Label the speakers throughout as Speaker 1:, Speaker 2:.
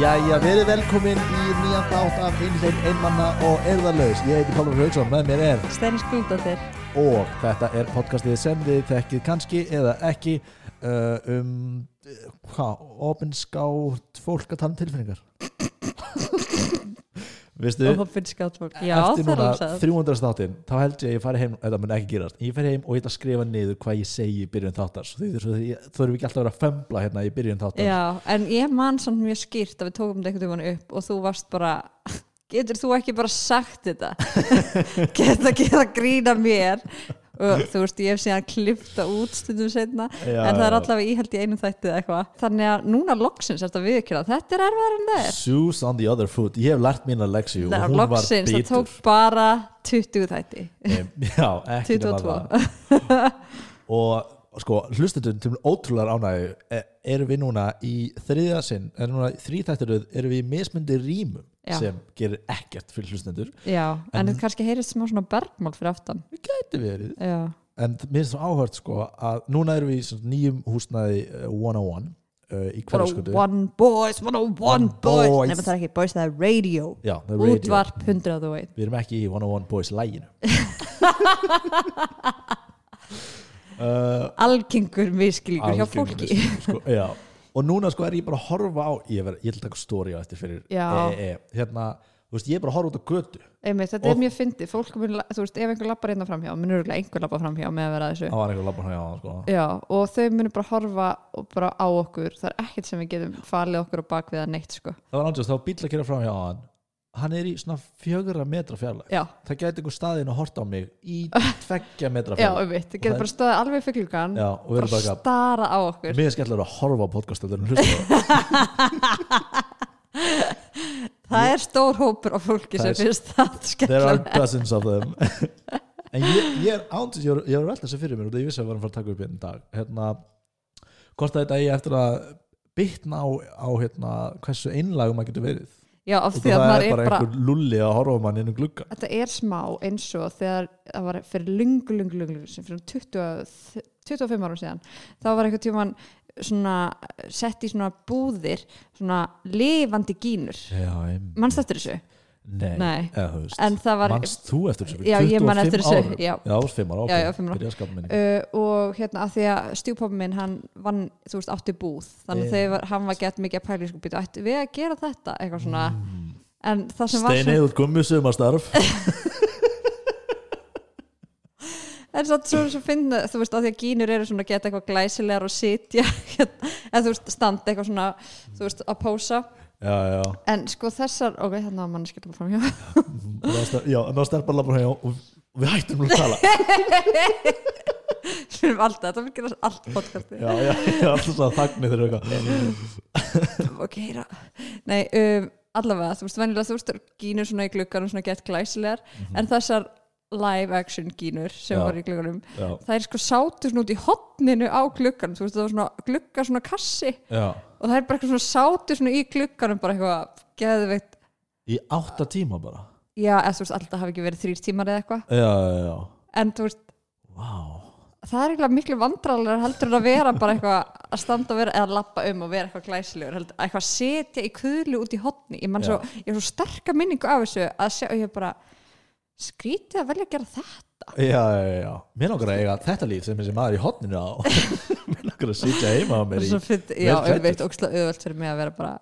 Speaker 1: Jæja, verið velkomin í nýjan þátt af Einhlein Einmanna og Erðarlaus. Ég heiti Pálmur Hauksson, með mér er
Speaker 2: Steini Skúndóttir
Speaker 1: og þetta er podcastið sem þið þekkið kannski eða ekki uh, um, uh, hvað, opinskátt fólk að tala um tilfinningar. Vistu,
Speaker 2: og hoppinn skátfólk Já,
Speaker 1: eftir
Speaker 2: það er
Speaker 1: núna
Speaker 2: alveg það
Speaker 1: 300 þáttinn, þá held ég að ég fari heim, þetta mun ekki gerast, ég fari heim og ég ætla að skrifa niður hvað ég segi í byrjun þáttar, svo því þú þurfum ekki alltaf að vera að fömbla hérna í byrjun þáttar.
Speaker 2: Já, en ég man samt mjög skýrt að við tókum þetta einhvern tímann upp og þú varst bara getur þú ekki bara sagt þetta getur að gera grína mér og þú veist, ég hef síðan klifta út stundum setna
Speaker 1: Já,
Speaker 2: en það er
Speaker 1: já.
Speaker 2: allavega íhald í einum þætti eða eitthvað þannig að núna loksins er þetta viðkjöla þetta er erfiðar en það er
Speaker 1: Shoes on the other foot, ég hef lært mína leksi og hún var
Speaker 2: loksins, það
Speaker 1: bitur
Speaker 2: tók bara 20 þætti
Speaker 1: Em, Já, ekki nema
Speaker 2: 22.
Speaker 1: það Og sko, hlustundum til ótrúlar ánægju e- erum við núna í þriðja sinn erum núna í þrítættiruð, erum við í mismundi rýmum
Speaker 2: Já.
Speaker 1: sem gerir ekkert fyrir hlustundur
Speaker 2: Já, en,
Speaker 1: En-
Speaker 2: en kannski heyrist smá svona bergmál fyrir aftan
Speaker 1: Gæti verið
Speaker 2: Já,
Speaker 1: En mér finnst það áhört sko að núna erum við í svona nýjum húsnaði eh, 101 uh, í
Speaker 2: bara
Speaker 1: hverfskundu
Speaker 2: one boys, one on one boys,
Speaker 1: boys.
Speaker 2: boys. nefnum það er ekki boys, það er radio,
Speaker 1: Já, the radio.
Speaker 2: útvarp 100 þú veit
Speaker 1: Við erum ekki í 101 Boys læginu
Speaker 2: algengur miskilíkur hjá fólki
Speaker 1: Algjörlega, sko, já. og núna sko er ég bara að horfa á ég, ver, ég ætla að taka stóri á eftir fyrir
Speaker 2: Já.
Speaker 1: e, e, hérna, þú veist, ég er bara að horfa út á götu
Speaker 2: Einmitt, þetta er mjög fyndið, fólk mun, la- þú veist, ef einhver lappar hérna framhjá, mun örgulega einhver lappa framhjá með að vera að þessu,
Speaker 1: það var einhver labban hjá hann sko.
Speaker 2: já, og þau munum bara horfa og bara á okkur, það er ekkert sem við getum falið okkur á bakvið að neitt, sko
Speaker 1: það var náttúrulega, þá var bíl að kera fram hjá hann hann er í svona fjögurra metra fjarlæg
Speaker 2: já,
Speaker 1: það gæti einhver staðin að horta á mig í tveggja metra
Speaker 2: já,
Speaker 1: fjarlæg
Speaker 2: einmitt, það getur bara stöðið alveg fyrir klukkan,
Speaker 1: Já, og við erum
Speaker 2: bara
Speaker 1: bara eitthvað-
Speaker 2: stara á okkur
Speaker 1: mér er skemmtilega að horfa á podcast heldur en hlusta á það.
Speaker 2: það er stór hópur á fólki
Speaker 1: Það
Speaker 2: sem
Speaker 1: er-
Speaker 2: finnst það
Speaker 1: there are
Speaker 2: skemmtilegt
Speaker 1: dozens of them en ég, ég er ántis ég var- ég var að velta þessu fyrir mér og ég vissi að við varum að fara að taka upp hérna í dag hérna, hvort að þetta eigi eftir að bitna á, á hérna, hversu einlægum maður getur verið
Speaker 2: já, af
Speaker 1: og
Speaker 2: því að
Speaker 1: það er
Speaker 2: maður er
Speaker 1: bara
Speaker 2: bara
Speaker 1: einhver lulli að horfa á mann um innum glugga
Speaker 2: þetta er smá eins og þegar það var fyrir lungu, lungu, lungu sem fyrir um 20, 25 árum síðan þá var eitthvað tíman svona eh, sett í svona búðir svona lifandi gínur
Speaker 1: já, em,
Speaker 2: mannst eftir þessu
Speaker 1: nei,
Speaker 2: Nei.
Speaker 1: Eða, þú veist,
Speaker 2: en það var
Speaker 1: manst þú eftir þessu fyrir
Speaker 2: Já, ég man
Speaker 1: 25
Speaker 2: eftir þessu,
Speaker 1: árum?
Speaker 2: já.
Speaker 1: já, þú varst fimm ára, ok,
Speaker 2: Já, já, fimm ára.
Speaker 1: byrja að skapa minni
Speaker 2: Uh, og hérna að því að stjúpappi minn hann vann, þú veist, átti búð þannig
Speaker 1: Eh.
Speaker 2: að þegar hann var gett mikið að pæla í sko býtu, ættu við að gera þetta, eitthvað svona en það sem var
Speaker 1: steinið út gummi sumarstarf
Speaker 2: En satt svo svo finna, þú veist, að því að gínur eru svona að geta eitthvað glæsilegar og sitja hérna, eða þú veist, standa eitthvað svona þú veist, að pósa
Speaker 1: já, já,
Speaker 2: en sko þessar, ok, þannig að mann skilja fram hjá
Speaker 1: Násta- já, ná stelpar labbar hjá og við hættum nú að tala
Speaker 2: fyrir alltaf, þetta fyrir gerast allt podcasti
Speaker 1: já, já, ég er alltaf að þagni þegar eitthvað
Speaker 2: ok, heyra nei, um, allavega, þú veist, venjulega þú veist, gínur svona í glugganum svona gett glæsilegar en þessar live action gínur sem
Speaker 1: Mhm. Já.
Speaker 2: var í glugganum
Speaker 1: já,
Speaker 2: það er sko sátur svona út í hotninu á glugganum, þú veist, það var svona glugga svona kassi
Speaker 1: já
Speaker 2: og það er bara eitthvað svona sátu svona í klukkanum bara eitthvað geðveikt
Speaker 1: í átta tíma bara
Speaker 2: já, eða þú veist, alltaf hafi ekki verið þrýr tímar eða eitthvað
Speaker 1: já, já, já,
Speaker 2: en þú veist,
Speaker 1: vá
Speaker 2: það er eitthvað miklu vandrarlegar heldur en að vera bara eitthvað að standa og vera eða lappa um og vera eitthvað glæsilegur heldur, eitthvað að setja í kuðlu út í hotni ég, man svo, ég er svo sterka minningu af þessu að sjá, ég er bara skrítið að velja að gera þetta
Speaker 1: já, já, já, já, mér langar að eiga þetta líf sem þessi maður í hotninu á mér langar að sitja heima á
Speaker 2: og
Speaker 1: mér í
Speaker 2: svo fyrir, já,
Speaker 1: vel klæddur.
Speaker 2: auðvitað, óksla auðvelt fyrir mig að vera bara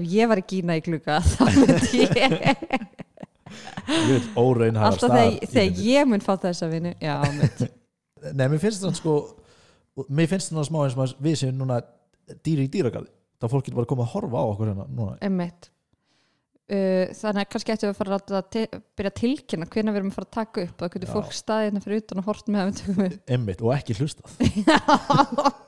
Speaker 2: ef ég var í Gína í klukka þá myndi ég
Speaker 1: óreinhæðar
Speaker 2: alltaf þegar, þegar ég mun fá þessa vinnu já, mynd
Speaker 1: Nei, mér finnst þannig sko mér finnst þannig smá eins og maður- við séum núna dýri í dýragarði þá fólk getur bara að koma að horfa á okkur hérna núna
Speaker 2: Einmitt. Uh, þannig að kannski ættum við að fara að láta það til- byrja að tilkynna hvernig við erum að fara að taka upp og hvernig
Speaker 1: Já.
Speaker 2: fólk staði hérna fyrir utan og hort með að við tökum
Speaker 1: einmitt og ekki hlustað
Speaker 2: upp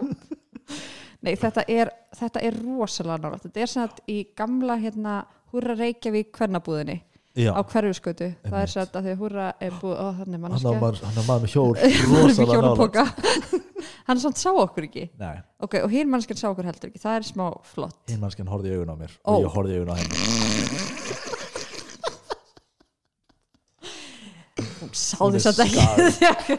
Speaker 2: Nei, þetta er, þetta er rosalega nálægt þetta er sem sagt í gamla hérna Húra Reykjavík kvernabúðinni
Speaker 1: já,
Speaker 2: á hverfiskötu, það
Speaker 1: Einmitt.
Speaker 2: er sem sagt að því að Húra er búið, ó þannig
Speaker 1: hann á
Speaker 2: mannskja
Speaker 1: maður, hann á maður með hjól
Speaker 2: með
Speaker 1: rosalega nála
Speaker 2: hjólapoka hann samt sá okkur ekki
Speaker 1: Nei,
Speaker 2: ok, og hinn mannskjan sá okkur heldur ekki, það er smá flott
Speaker 1: hinn mannskan horfði í augun á mér
Speaker 2: Ó.
Speaker 1: og ég horfði í augun á henni
Speaker 2: hún sá
Speaker 1: Hún er
Speaker 2: þess að ekki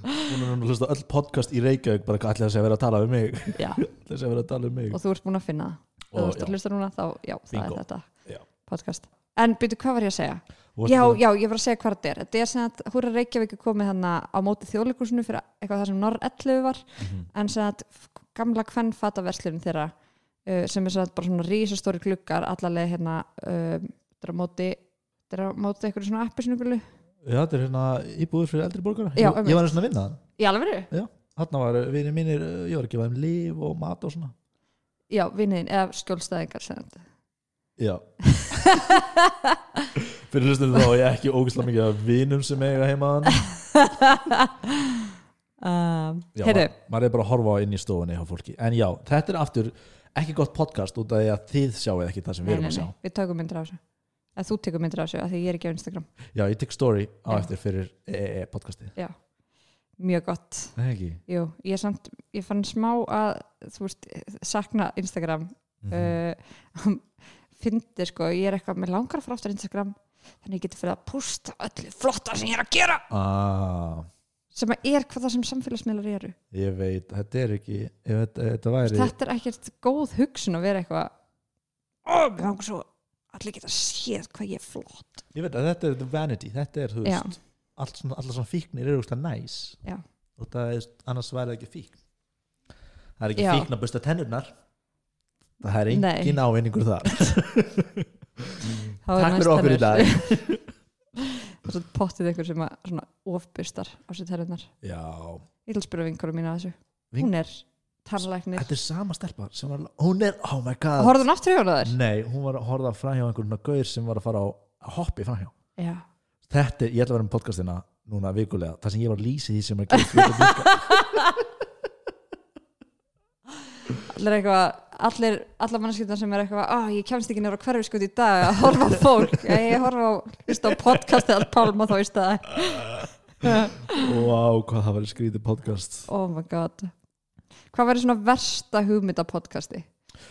Speaker 1: hún er núna að hlusta á öll podcast í Reykjavík bara allir þess að vera að tala um mig
Speaker 2: Já.
Speaker 1: allir þess að vera að tala um mig
Speaker 2: og þú ert búin að finna það og þú
Speaker 1: Og,
Speaker 2: ert að
Speaker 1: já.
Speaker 2: hlusta núna þá, já, það
Speaker 1: Bingo.
Speaker 2: er þetta
Speaker 1: Já.
Speaker 2: podcast en byrju, hvað var ég að segja?
Speaker 1: Þú varst
Speaker 2: já,
Speaker 1: með-
Speaker 2: já, ég var að segja hvað þetta er þetta er sem að Húra Reykjavík er komið hann á móti þjóðleikursinu fyrir eitthvað það sem Norr 11 var
Speaker 1: Mhm.
Speaker 2: en sem að gamla kvennfataverslun þeirra uh, sem er sem að bara svona rísastóri gluggar allarlega hérna um, þetta er á móti þetta er á móti eitthvað svona appisnugulu
Speaker 1: Já, þetta er hérna íbúður fyrir eldri borgara
Speaker 2: Já,
Speaker 1: Ég,
Speaker 2: einmitt.
Speaker 1: ég var eins og að vinna það
Speaker 2: í alveg?
Speaker 1: Þarna var vinir mínir, uh, ég var að gefa þeim líf og mat og svona
Speaker 2: Já, vinniðin, eða skjólstæðingar sem þetta
Speaker 1: Já Fyrir hlustum þá, ég ekki ógislega mikið af vinum sem eiga heima hann
Speaker 2: um,
Speaker 1: Já,
Speaker 2: Heyrðu,
Speaker 1: ma- maður er bara að horfa á inn í stofunni hjá fólki En já, þetta er aftur ekki gott podcast út af því að þið sjáu ekki það sem við
Speaker 2: nei,
Speaker 1: erum
Speaker 2: nei,
Speaker 1: að sjá
Speaker 2: nei, við tökum myndir af þessu eða þú tekur myndir af þessu, af því ég er ekki á Instagram
Speaker 1: Já, ég tek story á
Speaker 2: Já.
Speaker 1: eftir fyrir e -E podcastið
Speaker 2: mjög gott,
Speaker 1: Nei ekki
Speaker 2: jú, ég samt ég fann smá að, þú veist sakna Instagram
Speaker 1: Mhm.
Speaker 2: uh, fyndi sko, ég er eitthvað með langar frá aftur Instagram þannig ég geti fyrir að pústa öllu flotta sem ég er að gera
Speaker 1: ah,
Speaker 2: sem að er hvað það sem samfélagsmiðlar eru
Speaker 1: Ég veit, þetta er ekki ef þetta, þetta væri
Speaker 2: þetta er ekkert góð hugsun að vera eitthvað ó, mér langar svo að allir geta séð hvað ég er flott
Speaker 1: Ég veit að þetta er the vanity, þetta er, þú
Speaker 2: Já.
Speaker 1: veist allt svona, allar svona fíknir eru úrst að næs
Speaker 2: Já.
Speaker 1: og það er, annars væri það ekki fíkn það er ekki
Speaker 2: Já.
Speaker 1: fíkn að busta tennurnar það er
Speaker 2: Nei.
Speaker 1: engin ávinningur þar
Speaker 2: Þá er
Speaker 1: Takk
Speaker 2: næst
Speaker 1: fyrir okkur í
Speaker 2: önnur.
Speaker 1: dag
Speaker 2: og svo pottið ykkur sem að svona ofbustar á sér terrennar
Speaker 1: Já,
Speaker 2: ég vil spyrja vinkarum mína að þessu
Speaker 1: Vink-
Speaker 2: hún er tannlæknir
Speaker 1: þetta er sama stelpa sem var, hún er, Mm. oh my god
Speaker 2: horfðu hún aftur í hún að þér?
Speaker 1: Nei, hún var að horfa framhjá einhvern svona gaur sem var að fara á að hoppi framhjá
Speaker 2: já
Speaker 1: Þetta er, ég ætla að vera með podcastina núna vikulega, það sem ég var að lýsa því sem er að gera
Speaker 2: allir eitthvað, allir, allar mannskiptan sem er eitthvað, að ég kemst ekki nefnir á hverfi sko í dag að horfa á fólk, ég, ég horfa á hlusta á podcastið að pálma þá í staði
Speaker 1: Wow, hvað það var skrítið podcast
Speaker 2: oh my god hvað væri svona versta hugmynd af podcasti?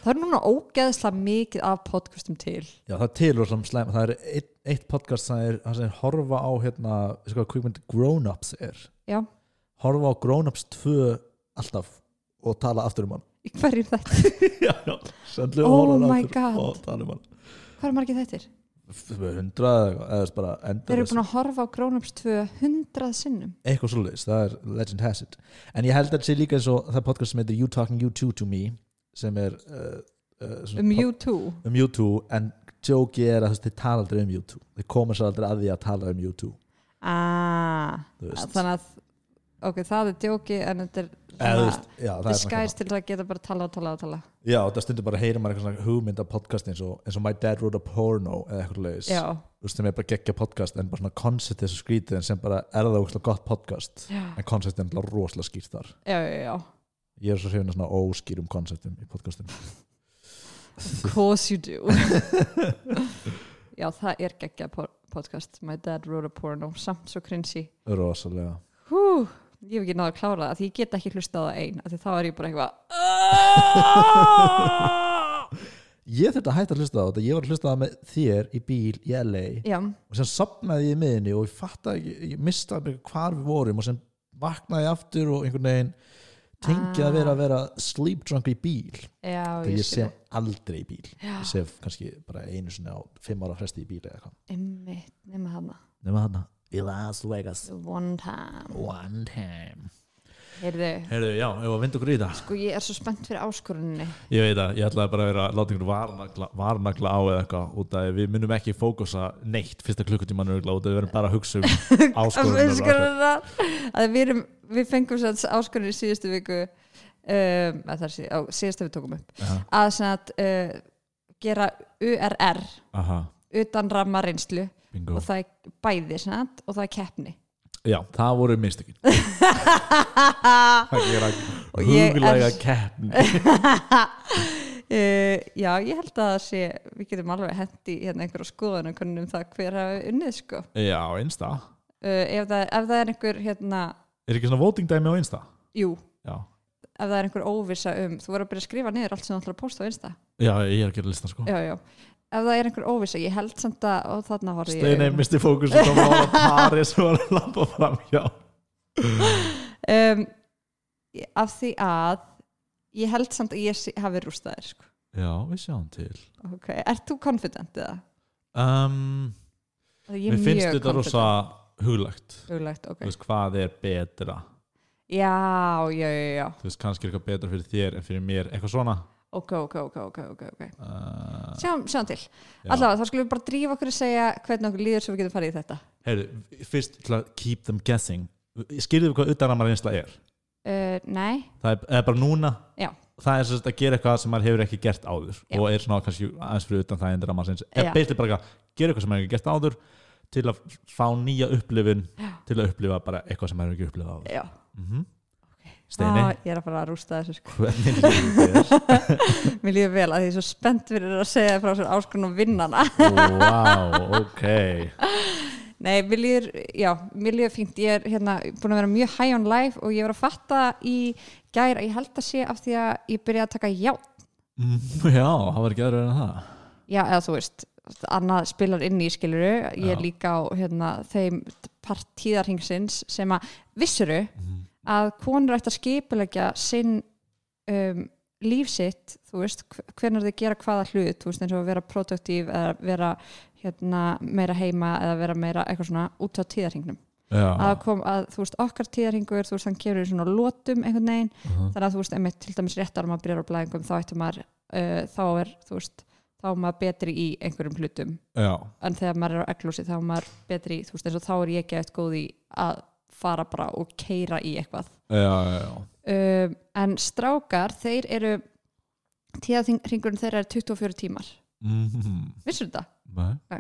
Speaker 2: það er núna ógeðslega mikið af podcastum til
Speaker 1: Já, það er til og svona slæm Það er eitt, eitt podcast sem er, það sem er horfa á hérna, veistu hvað kvikmynd Grown Ups er
Speaker 2: já,
Speaker 1: Horfa á Grown Ups 2 alltaf og tala aftur um hann
Speaker 2: í hverjum þetta,
Speaker 1: Já, já, sendlega
Speaker 2: Oh
Speaker 1: horfa á hann
Speaker 2: my
Speaker 1: aftur
Speaker 2: God.
Speaker 1: og tala um hann
Speaker 2: hvað er margir þettir?
Speaker 1: F- Hundrað eða eitthvað, eða þess bara
Speaker 2: þeir eru
Speaker 1: endur
Speaker 2: búin að horfa á Grónöps 200 sinnum
Speaker 1: eitthvað svoleiðis, það er Legend Has It En ég held að þetta sé líka eins og það podcast sem heitir You Talking You Too To Me sem er uh, uh, svona
Speaker 2: um
Speaker 1: pod-
Speaker 2: U2
Speaker 1: um U2 en Jóki er að þú veist, þeir tala aldrei um U2 þeir koma sér aldrei að því að tala um U2
Speaker 2: ah,
Speaker 1: þú veist.
Speaker 2: þannig að ok, það er djóki en þetta er
Speaker 1: Eða, þú
Speaker 2: svona-
Speaker 1: veist, já, það er svona gaman.
Speaker 2: disguise til það geta bara tala og tala og tala
Speaker 1: Já, það stundur bara að heyra maður eitthvað svona hugmynd af podcast eins og, eins og My Dad Wrote a Porno eða eitthvað leiðis,
Speaker 2: já,
Speaker 1: þú veist, sem er bara geggja podcast en bara svona koncept þessu skrítið en sem bara er það ógæslega gott podcast
Speaker 2: já,
Speaker 1: en koncept er náttúrulega rosalega skýrt þar
Speaker 2: já, já, já.
Speaker 1: ég er svo hrifin að svona óskýrum konceptum í podcastum
Speaker 2: of course you do já, það er geggja po- podcast My Dad Wrote a Porno, samt svo cringy
Speaker 1: rosalega
Speaker 2: hú, ég hef ekki náðu að klára það af því ég get ekki hlustað á það ein af því þá er ég bara eitthvað
Speaker 1: ég þurfti að hætta að hlusta á þetta, ég var að hlusta á það með þér í bíl í LA
Speaker 2: já,
Speaker 1: og sem sopnaði ég í miðinni og ég fattaði ekki, ég mistaði mig hvar við vorum og sem vaknaði ég aftur og einhvern veginn tengið að vera að vera sleep drunk í bíl
Speaker 2: já,
Speaker 1: þegar
Speaker 2: ég
Speaker 1: ég
Speaker 2: skil
Speaker 1: sef aldrei í bíl ég sef kannski bara einu sinni á fimm ára fresti í bíl eða eitthvað
Speaker 2: ymmit, nema hana
Speaker 1: nema þarna í Las Vegas
Speaker 2: The one time
Speaker 1: one time
Speaker 2: heyrðu,
Speaker 1: heyrðu já, ef að vinda okkur í það
Speaker 2: sko ég er svo spennt fyrir áskoruninni
Speaker 1: ég veit að ég ætlaði bara að vera að láta ykkur varnagla, varnagla á eða eitthvað út að við munum ekki fókusa neitt fyrsta klukkutíman út að við verum bara að hugsa um áskorunar og eitthvað.
Speaker 2: Áskorunar. að við, erum, við fengum sér áskorun í síðustu viku um, að það er síð, á, síðustu við tókum upp
Speaker 1: Aha,
Speaker 2: að sem sagt, uh, gera URR
Speaker 1: aha,
Speaker 2: utan ramma reynslu
Speaker 1: bingo
Speaker 2: og það er bæði sem sagt, og það er keppni
Speaker 1: já, það voru mistökin það gera
Speaker 2: Og ég er-
Speaker 1: huglega keppn
Speaker 2: uh, já ég held að það sé við getum alveg hendi hérna einhverja skoðunum kunnum það hver hafi unnið sko.
Speaker 1: já, einsta
Speaker 2: uh, ef, það, ef það er einhver hérna,
Speaker 1: er ekki svona voting dæmi á einsta
Speaker 2: jú
Speaker 1: já,
Speaker 2: ef það er einhver óvissa um, þú voru að byrja að skrifa niður allt sem þú ætlar að posta á Insta
Speaker 1: já, ég er að gera listan sko
Speaker 2: já, já. ef það er einhver óvissa, ég held samt að og þarna horfði ég
Speaker 1: Steinei misti fókus og kom á Paris og var að labba fram hjá
Speaker 2: um, af því að ég held samt að ég sé- hafi rústað þér sko.
Speaker 1: já, við sjáum til
Speaker 2: ok, ert þú confident eða?
Speaker 1: um,
Speaker 2: Af því Ég
Speaker 1: mér
Speaker 2: er
Speaker 1: finnst
Speaker 2: mjög
Speaker 1: þetta
Speaker 2: confident.
Speaker 1: rosa huglegt
Speaker 2: Huglægt, ok.
Speaker 1: þú veist hvað er betra
Speaker 2: Já, já, já, já.
Speaker 1: þú veist kannski er eitthvað betra fyrir þér en fyrir mér eitthvað svona
Speaker 2: Ok, ok, ok, ok, ok, ok.
Speaker 1: uh,
Speaker 2: Sjáum, sjáum til.
Speaker 1: já.
Speaker 2: Allavega, þá skulum við bara drífa okkur að segja hvernig okkur líður svo við getum farið í þetta.
Speaker 1: Heyrðu, fyrst til að keep them guessing skilðu við hvað utanramar einsla er
Speaker 2: Uh, nei,
Speaker 1: það er, er bara núna
Speaker 2: Já.
Speaker 1: það er sem sagt að gera eitthvað sem maður hefur ekki gert áður
Speaker 2: Já.
Speaker 1: og er svona kannski aðeins fyrir utan það endur að maður sinns,
Speaker 2: Já.
Speaker 1: er beitlega bara eitthvað, gera eitthvað sem maður hefur ekki gert áður til að fá nýja upplifun til að upplifa bara eitthvað sem maður hefur ekki upplifað áður
Speaker 2: já.
Speaker 1: mm Steini,
Speaker 2: Eh, Ah, ég er að fara að rústa þessu sko.
Speaker 1: hvernig líður þér?
Speaker 2: Mér líður vel að því ég er svo spennt fyrir að segja frá sér áskunum vinnana.
Speaker 1: wow, ok
Speaker 2: Nei, mér líður, já, mér líður fínt. Ég er hérna búin að vera mjög high on life og ég var að fatta í gær að ég held að sé af því að ég byrjaði að taka já.
Speaker 1: Mm, já, það var ekki aðra en það
Speaker 2: Já, eða þú veist, annað spilar inn í skiluru. Ég
Speaker 1: Já.
Speaker 2: er líka á hérna, þeim partíðarhingsins sem að vissuru
Speaker 1: Mhm.
Speaker 2: að konur ætti að skipulegja sinn um, líf sitt, þú veist, hvernig þau gera hvaða hlut, þú veist, eins og að vera produktív eða vera hérna, meira heima eða vera meira eitthvað svona út á tíðarhingnum.
Speaker 1: já,
Speaker 2: Að kom að, þú veist, okkar tíðarhingur, þú veist, hann kemur í svona lótum einhvern veginn,
Speaker 1: Mhm.
Speaker 2: þannig að þú veist, einmitt til dæmis réttar maður byrjar á blæðingum, þá ætti maður, uh, þá er, þú veist, þá er maður betri í einhverjum hlutum
Speaker 1: já,
Speaker 2: en þegar maður er á eglúsi þá er maður betri, í, þú veist, eins og þá er ég gett góð í að fara bara og keira í eitthvað
Speaker 1: já, já, já.
Speaker 2: um, en strákar, þeir eru tíðarhingurinn þeirra er 24 tímar,
Speaker 1: Mm
Speaker 2: vissur þetta?
Speaker 1: Nei,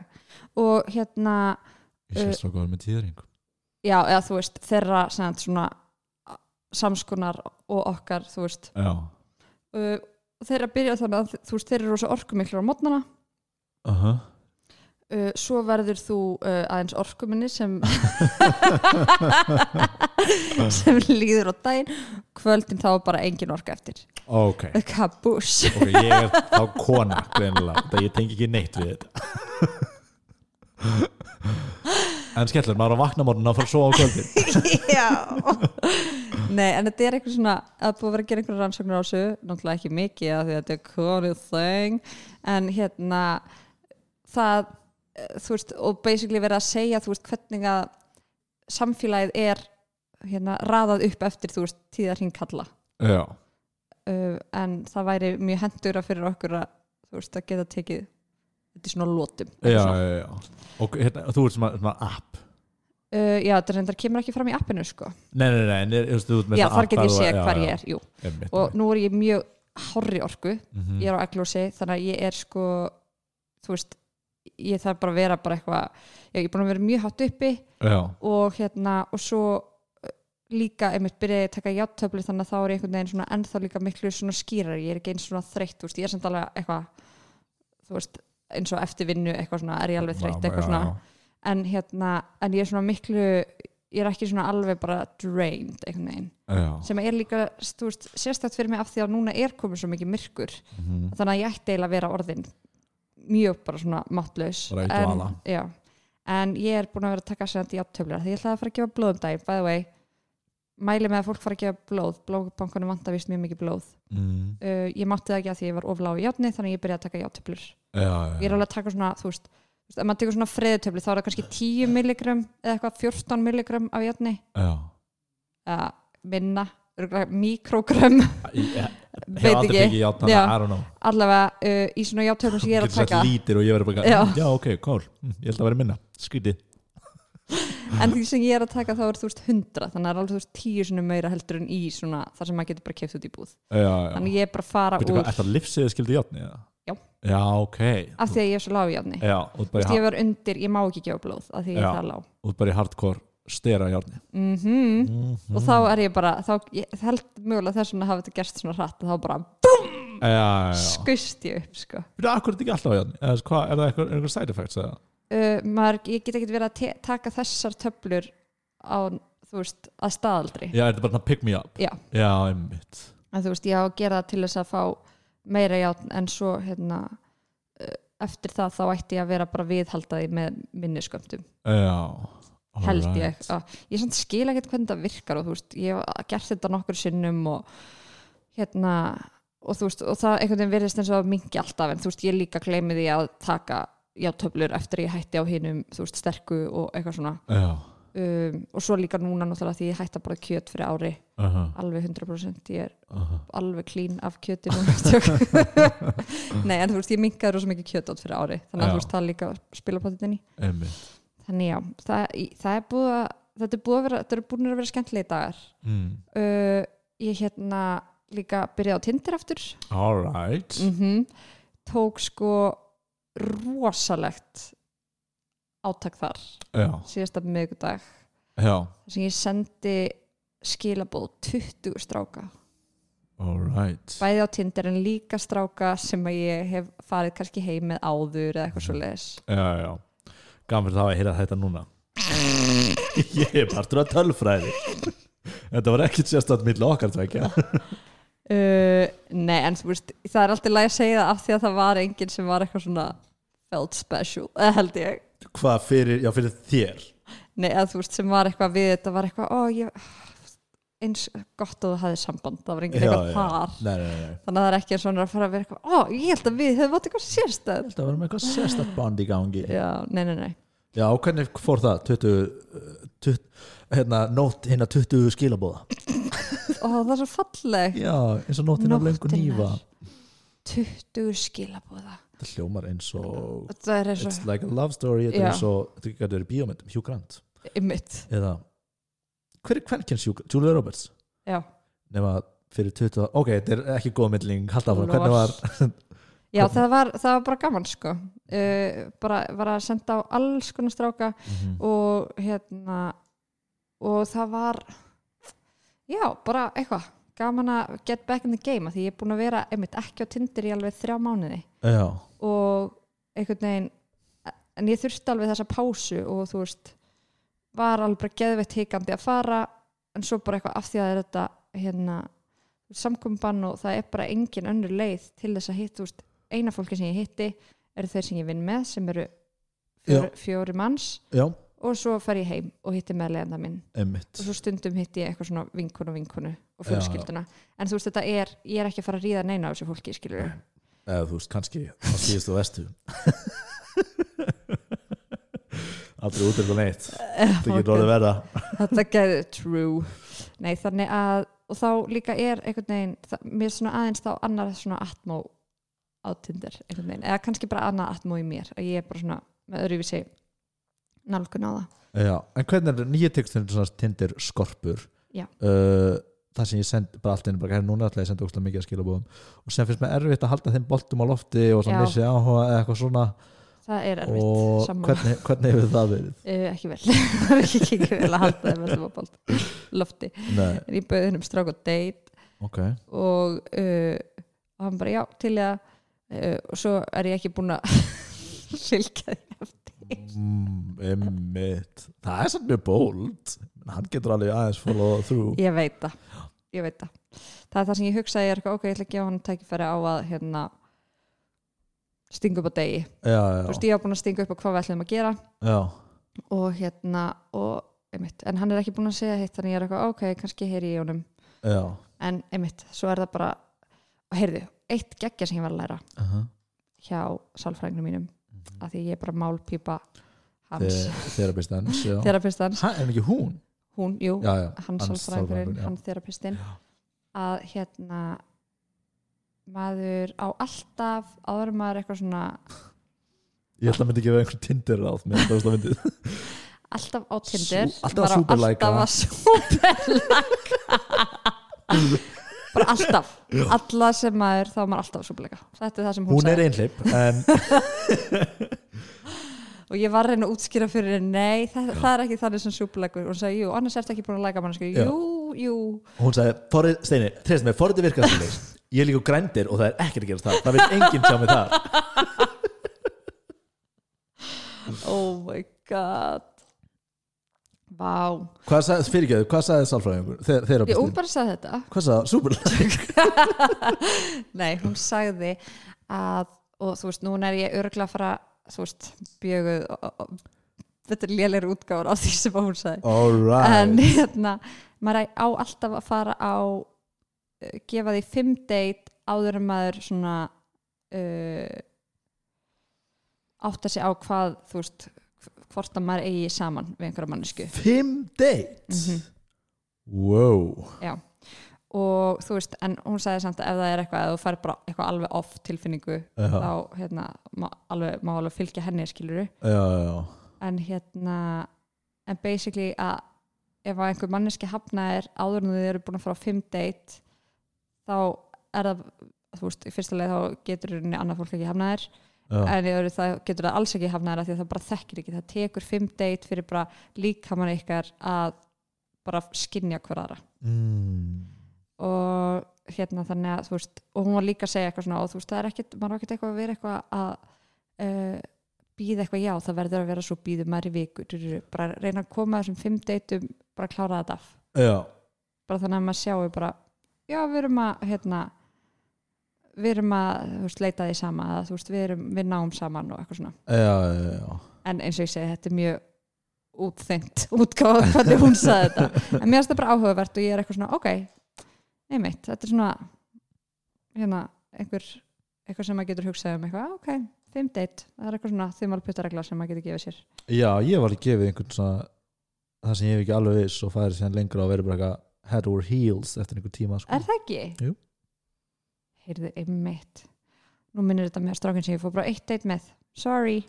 Speaker 2: og hérna,
Speaker 1: ég sé svo góður með tíðring
Speaker 2: já, eða þú veist þeirra sem sagt, svona a- samskonar og okkar, þú veist
Speaker 1: já,
Speaker 2: uh, og þeirra byrja þannig að þú veist, þeir eru rosa orkumiklir á mótnana
Speaker 1: uh
Speaker 2: Uh, svo verður þú uh, aðeins orkuminni sem sem líður á daginn kvöldin þá er bara engin orka eftir
Speaker 1: ok
Speaker 2: kabús
Speaker 1: Ok, ég er þá kona greinilega, það ég tengi ekki neitt við þetta En skellur, maður er að vakna morgun og fara að sofa á kvöldin
Speaker 2: Já Nei, en þetta er eitthvað svona að búið að vera að gera einhverja rannsóknir á þessu náttúrulega ekki mikið af því að þetta er konið þeng en hérna það, eh, þú veist og basically verið að segja, þú veist, hvernig að samfélagið er hérna, raðað upp eftir, þú veist, tíðar hringkalla
Speaker 1: Já,
Speaker 2: uh, en það væri mjög hendura fyrir okkur að, þú veist, að geta tekið þetta í svona lótum
Speaker 1: já, já, já Og hérna, þú ert sem að, sem að app
Speaker 2: Uh, já, þetta reyndar kemur ekki fram í appinu sko.
Speaker 1: Nei, nei, nei, nei þú veist, þú ert með
Speaker 2: Já,
Speaker 1: þessa
Speaker 2: þar
Speaker 1: app
Speaker 2: get ég
Speaker 1: þú-
Speaker 2: séð
Speaker 1: já,
Speaker 2: hvar
Speaker 1: já,
Speaker 2: ég er jú.
Speaker 1: einmitt,
Speaker 2: og nú er ég mjög hárri orku
Speaker 1: mhm.
Speaker 2: ég er á eglósi þannig að ég er sko þú veist, ég þarf bara að vera bara eitthvað, ég er búin að vera mjög hátt uppi
Speaker 1: Já,
Speaker 2: og hérna og svo uh, líka einmitt byrjaði ég að taka játtöflu þannig að þá er ég einhvern veginn svona ennþá líka miklu svona skýrari, ég er ekki eins svona þreytt þú veist, ég er samt alveg eitthvað þú veist, eins og eftir vinnu eitthvað svona er ég alveg þreytt
Speaker 1: Já,
Speaker 2: eitthvað
Speaker 1: já,
Speaker 2: svona
Speaker 1: já.
Speaker 2: en hérna, en ég er svona miklu ég er ekki svona alveg bara drained einhvern veginn
Speaker 1: Já,
Speaker 2: sem er líka þú veist, sérstætt fyrir mig af því að núna er komið svo mikið myrkur
Speaker 1: mhm.
Speaker 2: þannig að ég ætti eiginlega að vera orðin mjög bara svona máttlaus
Speaker 1: Bara í
Speaker 2: en,
Speaker 1: dvala.
Speaker 2: já, en ég er búin að vera að taka sér þetta í aftöflur því ég ætlaði að fara að gefa blóð um daginn by the way, mæli með að fólk fara að gefa blóð blóðbankunum vantar vist mjög mikið blóð
Speaker 1: Mhm.
Speaker 2: uh, ég mátti það ekki að því ég var ofláð í játni þannig að ég byrjaði að taka játtöflur
Speaker 1: já, já,
Speaker 2: ég er alveg að taka svona, þú veist þú veist, ef maður tekur svona freðutöflu þá er það kannski 10 milligram eða eitthvað 14 milligram af játni
Speaker 1: já
Speaker 2: eða minna, mikrogram
Speaker 1: Ég ég hef
Speaker 2: veit
Speaker 1: aldrei
Speaker 2: ekki,
Speaker 1: fengið játna, I
Speaker 2: Já.
Speaker 1: don't know
Speaker 2: allavega uh, í svona játtöflum sem ég er að
Speaker 1: Getur sett
Speaker 2: taka
Speaker 1: lítir og ég verður bara
Speaker 2: Já.
Speaker 1: eitthvað, Já, ok, cool, Mm, ég held að vera minna Skrítið
Speaker 2: en því sem ég er að taka þá er þú veist hundra þannig að það er alveg þú veist tíu svona meira heldur en í svona þar sem maður getur bara keft út í búð
Speaker 1: Já, já
Speaker 2: þannig ég er bara að fara
Speaker 1: Býtu
Speaker 2: úr
Speaker 1: hvað, er það lifsiðið skildið játni?
Speaker 2: Já.
Speaker 1: Já, ok.
Speaker 2: af því að ég er svo lág í játni
Speaker 1: Já, og þú ert bara,
Speaker 2: ég var undir, ég má ekki gefa blóð af því ég
Speaker 1: Já.
Speaker 2: er það lág
Speaker 1: ja. bara í hardcore stera játni.
Speaker 2: mm og þá er ég bara þá, ég held mögulega þess vegna hafa þetta gerst svona hratt og þá bara
Speaker 1: Já, já, já.
Speaker 2: skust ég upp sko.
Speaker 1: Býtu, akkur er þetta ekki alltaf játni? Eða, þú veist, hvað, er það eitthvað, eitthvað side effects? Eða?
Speaker 2: uh, maður, ég get ekki verið að te- taka þessar töflur á, þú veist, að staðaldri
Speaker 1: Já, er þetta bara svona pick me up?
Speaker 2: Já.
Speaker 1: Já, einmitt.
Speaker 2: en þú veist, ég á að gera það til þess að fá meira játn en svo hérna eh, eftir það þá ætti ég að vera bara viðhaldaði með minni skömmtum,
Speaker 1: Já. All
Speaker 2: held
Speaker 1: right.
Speaker 2: ég að, ég samt skil ekkert hvernig það virkar og þú veist, ég hef gert þetta nokkur sinnum og hérna og þú veist, og það einhvern veginn virðist eins og að mingi alltaf en þú veist, ég líka gleymi því að taka játöflur eftir ég hætti á hinum þú veist, sterku og eitthvað svona
Speaker 1: já,
Speaker 2: um, og svo líka núna náttúrulega því ég hætti að bara kjöt fyrir ári
Speaker 1: aha,
Speaker 2: alveg 100% ég er
Speaker 1: aha
Speaker 2: alveg klín af kjöti núna stjók. nei, en þú veist, ég minkaði rosa mikið kjöt átt fyrir ári þannig að
Speaker 1: Já.
Speaker 2: þú veist, það er líka spila pottinni
Speaker 1: einmitt
Speaker 2: þannig já, það, í- það er búið að þetta er búið að vera, þetta eru búin að vera skemmtilegi dagar
Speaker 1: mm.
Speaker 2: uh, ég hérna líka byrjaði á Tinder aftur
Speaker 1: all right
Speaker 2: mm tók sko rosalegt átak þar
Speaker 1: já,
Speaker 2: síðasta miðgudag
Speaker 1: já,
Speaker 2: þar sem ég sendi skilabóð 20 stráka
Speaker 1: all right
Speaker 2: bæði á Tinder en líka stráka sem að ég hef farið kannski heim með áður eða eitthvað svo
Speaker 1: já, já, gaman fyrir það að heyra þetta núna ég er partur af tölfræði þetta var ekkit sérstætt milli okkar tvekja
Speaker 2: uh, Nei, en þú veist það er alltaf læg að segja það af því að það var enginn sem var eitthvað svona felt special, eh, held ég
Speaker 1: hvað fyrir, já fyrir þér
Speaker 2: Nei, að þú veist sem var eitthvað við þetta var eitthvað, ó ég eins gott að það hafði samband, það var enginn eitthvað þar
Speaker 1: nei, nei, nei, nei.
Speaker 2: þannig að það er ekki svona að fara að vera eitthvað ó, ég held að við hefum átt eitthvað sérstöð
Speaker 1: þetta var með eitthvað sérstætt band í gangi
Speaker 2: Já, nei, nei, nei
Speaker 1: já, hvernig fór það 20, 20 hérna, nótt hérna 20 skilabóða
Speaker 2: Ó, það er svo falleg
Speaker 1: já, eins og nóttin af lengur nýfa
Speaker 2: 20 skilabóða
Speaker 1: þetta hljómar eins og
Speaker 2: Þetta er eins
Speaker 1: it's
Speaker 2: og
Speaker 1: like a love story þetta
Speaker 2: Já.
Speaker 1: er eins og, þetta getur verið bíómyndum Hugh Grant
Speaker 2: ymmit
Speaker 1: eða hver, hver kynns Hugh Grant? Julia Roberts
Speaker 2: Já,
Speaker 1: nema fyrir 20 ok, þetta er ekki góð myndling halda áfram,
Speaker 2: Lofs.
Speaker 1: hvernig var
Speaker 2: Já það, var, það var bara gaman sko uh, bara var að senda á alls konar stráka
Speaker 1: Mhm.
Speaker 2: og hérna og það var já, bara eitthvað gaman að get back in the game af því ég er búin að vera einmitt ekki á Tinder í alveg þrjá mánuði
Speaker 1: já,
Speaker 2: og einhvern veginn en ég þurfti alveg þessa pásu og þú veist var alveg bara geðveitt hikandi að fara en svo bara eitthvað af því að það er þetta hérna samkumban og það er bara engin önnur leið til þess að hitt, þú veist, eina fólki sem ég hitti eru þeir sem ég vinn með sem eru fjóri, fjóri manns
Speaker 1: já,
Speaker 2: og svo fer ég heim og hitti meðlegenda minn og
Speaker 1: emmitt
Speaker 2: svo stundum hitti ég eitthvað svona vinkun og vinkunu og fjölskylduna en þú veist þetta er, ég er ekki að fara að ríða neina á þessu fólki skilur
Speaker 1: eða þú veist, kannski á síðustu og vestu aldrei út eitthvað neitt þetta getur orðið verða
Speaker 2: þetta gerði true nei þannig að og þá líka er einhvern veginn það, mér er svona aðeins þá annar svona atmó á Tinder einhvern veginn eða kannski bara annað atmó í mér að ég er bara svona með öðruvísi nálgun á það
Speaker 1: já, en hvernig er nýja tekstin svona tindir skorpur
Speaker 2: Já.
Speaker 1: uh, það sem ég send bara allt inn bara, "Herra, núna ætla ég að senda ógstlega mikið að skilabóðum og sem finnst mér erfitt að halda þeim boltum á lofti og
Speaker 2: Já.
Speaker 1: svona missi áhuga eða eitthvað svona
Speaker 2: það er
Speaker 1: og
Speaker 2: erfitt saman
Speaker 1: hvernig, hvernig hefur það verið
Speaker 2: uh, ekki vel, það er ekki ekki vel að halda þeim alltaf á bolt lofti
Speaker 1: Nei,
Speaker 2: en ég bauði hennum strák og date
Speaker 1: ok
Speaker 2: og, uh, og hann bara já til ég að uh, og svo er ég ekki búin að fylgja því
Speaker 1: Mm, Einmitt Það er samt mjög bold Hann getur alveg aðeins follow through
Speaker 2: ég veit það ég veit það það er það sem ég hugsaði ég er eitthvað ok, ég ætla að gefa hann tækifæri á að hérna stinga upp á degi
Speaker 1: Já,
Speaker 2: þú
Speaker 1: já,
Speaker 2: veist ég var búin að stinga upp á hvað við ætlum að gera
Speaker 1: já
Speaker 2: og hérna og einmitt, en hann er ekki búin að segja hitt þannig ég er eitthvað ok, kannski heyri ég í honum
Speaker 1: Já,
Speaker 2: en einmitt, svo er það bara og heyrðu, eitt geggja sem ég var að læra
Speaker 1: uh -huh.
Speaker 2: hjá sálfræðingum mínum
Speaker 1: Mhm.
Speaker 2: af því ég er bara málpípa hans,
Speaker 1: Therapist hans já.
Speaker 2: terapist hans
Speaker 1: Ha, En ekki hún
Speaker 2: hún, jú,
Speaker 1: Já, já,
Speaker 2: hann
Speaker 1: Hans
Speaker 2: sálfræðingurinn,
Speaker 1: sálfræðingurinn, já.
Speaker 2: hann þerapistinn að hérna maður á alltaf áður en maður eitthvað svona
Speaker 1: Ég ætla að myndi gefa einhver Tinder ráð með þetta ósla myndið
Speaker 2: alltaf á Tinder
Speaker 1: Sú- alltaf að
Speaker 2: maður á
Speaker 1: súperlæka.
Speaker 2: alltaf að súperlæka bara alltaf alla sem maður, þá er maður alltaf að súperlæka þetta er það sem hún,
Speaker 1: Hún er
Speaker 2: sagði
Speaker 1: einhleip en
Speaker 2: og ég var að reyna að útskýra fyrir henni nei, það, það er ekki þannig sem súperlækur og hún sagði, jú, annars ertu ekki búin að læka mann
Speaker 1: Já.
Speaker 2: jú, jú,
Speaker 1: hún sagði Þorri, Steini, treyst mig, forrið virkar þannig Ég er líka á grændir og það er ekkert að gerast það Það veit enginn sjá mig það
Speaker 2: oh my god vá wow.
Speaker 1: Hvað sagði, fyrirgjöðu, hvað sagði sálfræðingur? Þe-
Speaker 2: Ég hún
Speaker 1: Therapistinn
Speaker 2: bara sagði þetta
Speaker 1: Hvað sagði, superlæk
Speaker 2: Nei, hún sagði að og þú veist, núna er ég örgla að fara þú veist, bjöguð og- og- og- þetta er lélir útgáfur á því sem hún sagði
Speaker 1: All
Speaker 2: en
Speaker 1: right
Speaker 2: hérna, maður á alltaf að fara á eh, gefa því fimm date áður en maður svona uh, átta sig á hvað þú veist hvort að maður eigi saman við einhverja mannesku
Speaker 1: Fimm dates
Speaker 2: Mhm.
Speaker 1: Wow
Speaker 2: og þú veist, en hún sagði samt að ef það er eitthvað að þú fær bara eitthvað alveg off tilfinningu
Speaker 1: Já,
Speaker 2: þá hérna, má alveg, má alveg fylgja henni skiluru
Speaker 1: já, já
Speaker 2: en hérna en basically að ef að einhver manneski hafnaðir áður en þið eru búin að fara á fimm date þá er það þú veist, í fyrsta leið þá getur henni annað fólk ekki hafnaðir
Speaker 1: Já,
Speaker 2: en í öðru það getur það alls ekki hafnaðir af því að það bara þekkir ekki, það tekur fimm date fyrir bara líkamann ykkar að bara skinja hver aðra
Speaker 1: mm.
Speaker 2: og hérna þannig að þú veist og hún var líka að segja eitthvað svona og þú veist það er ekkit, maður er ekkit eitthvað að vera eitthvað að uh, býða eitthvað já það verður að vera svo býðum maður í viku drururu, bara reyna að koma þessum fimm deytum bara klára þetta af
Speaker 1: já.
Speaker 2: bara þannig að maður sjáu bara já við erum að hérna við erum að þú veist, leita því sama að, þú veist, við, erum, við náum saman og eitthvað svona
Speaker 1: já, já, já.
Speaker 2: en eins og ég segi þetta er mjög útþengt, útgáð hvernig hún saði þetta en mér finnst það bara áhugavert og ég er eitthvað svona ok, einmitt, þetta er svona hérna, einhver eitthvað sem maður getur hugsað um eitthvað, ok, fimm date það er eitthvað svona þumal puttaregla sem maður getur gefið sér
Speaker 1: já, ég var að gefa einhvern svona það sem ég hef ekki alveg viss og færi síðan lengra og verið bara eitthvað head over heels eftir einhver tíma sko.
Speaker 2: er það ekki?
Speaker 1: Jú.
Speaker 2: heyrðu, einmitt nú minnir þetta með strákinn sem ég fór bara á eitt date með sorry,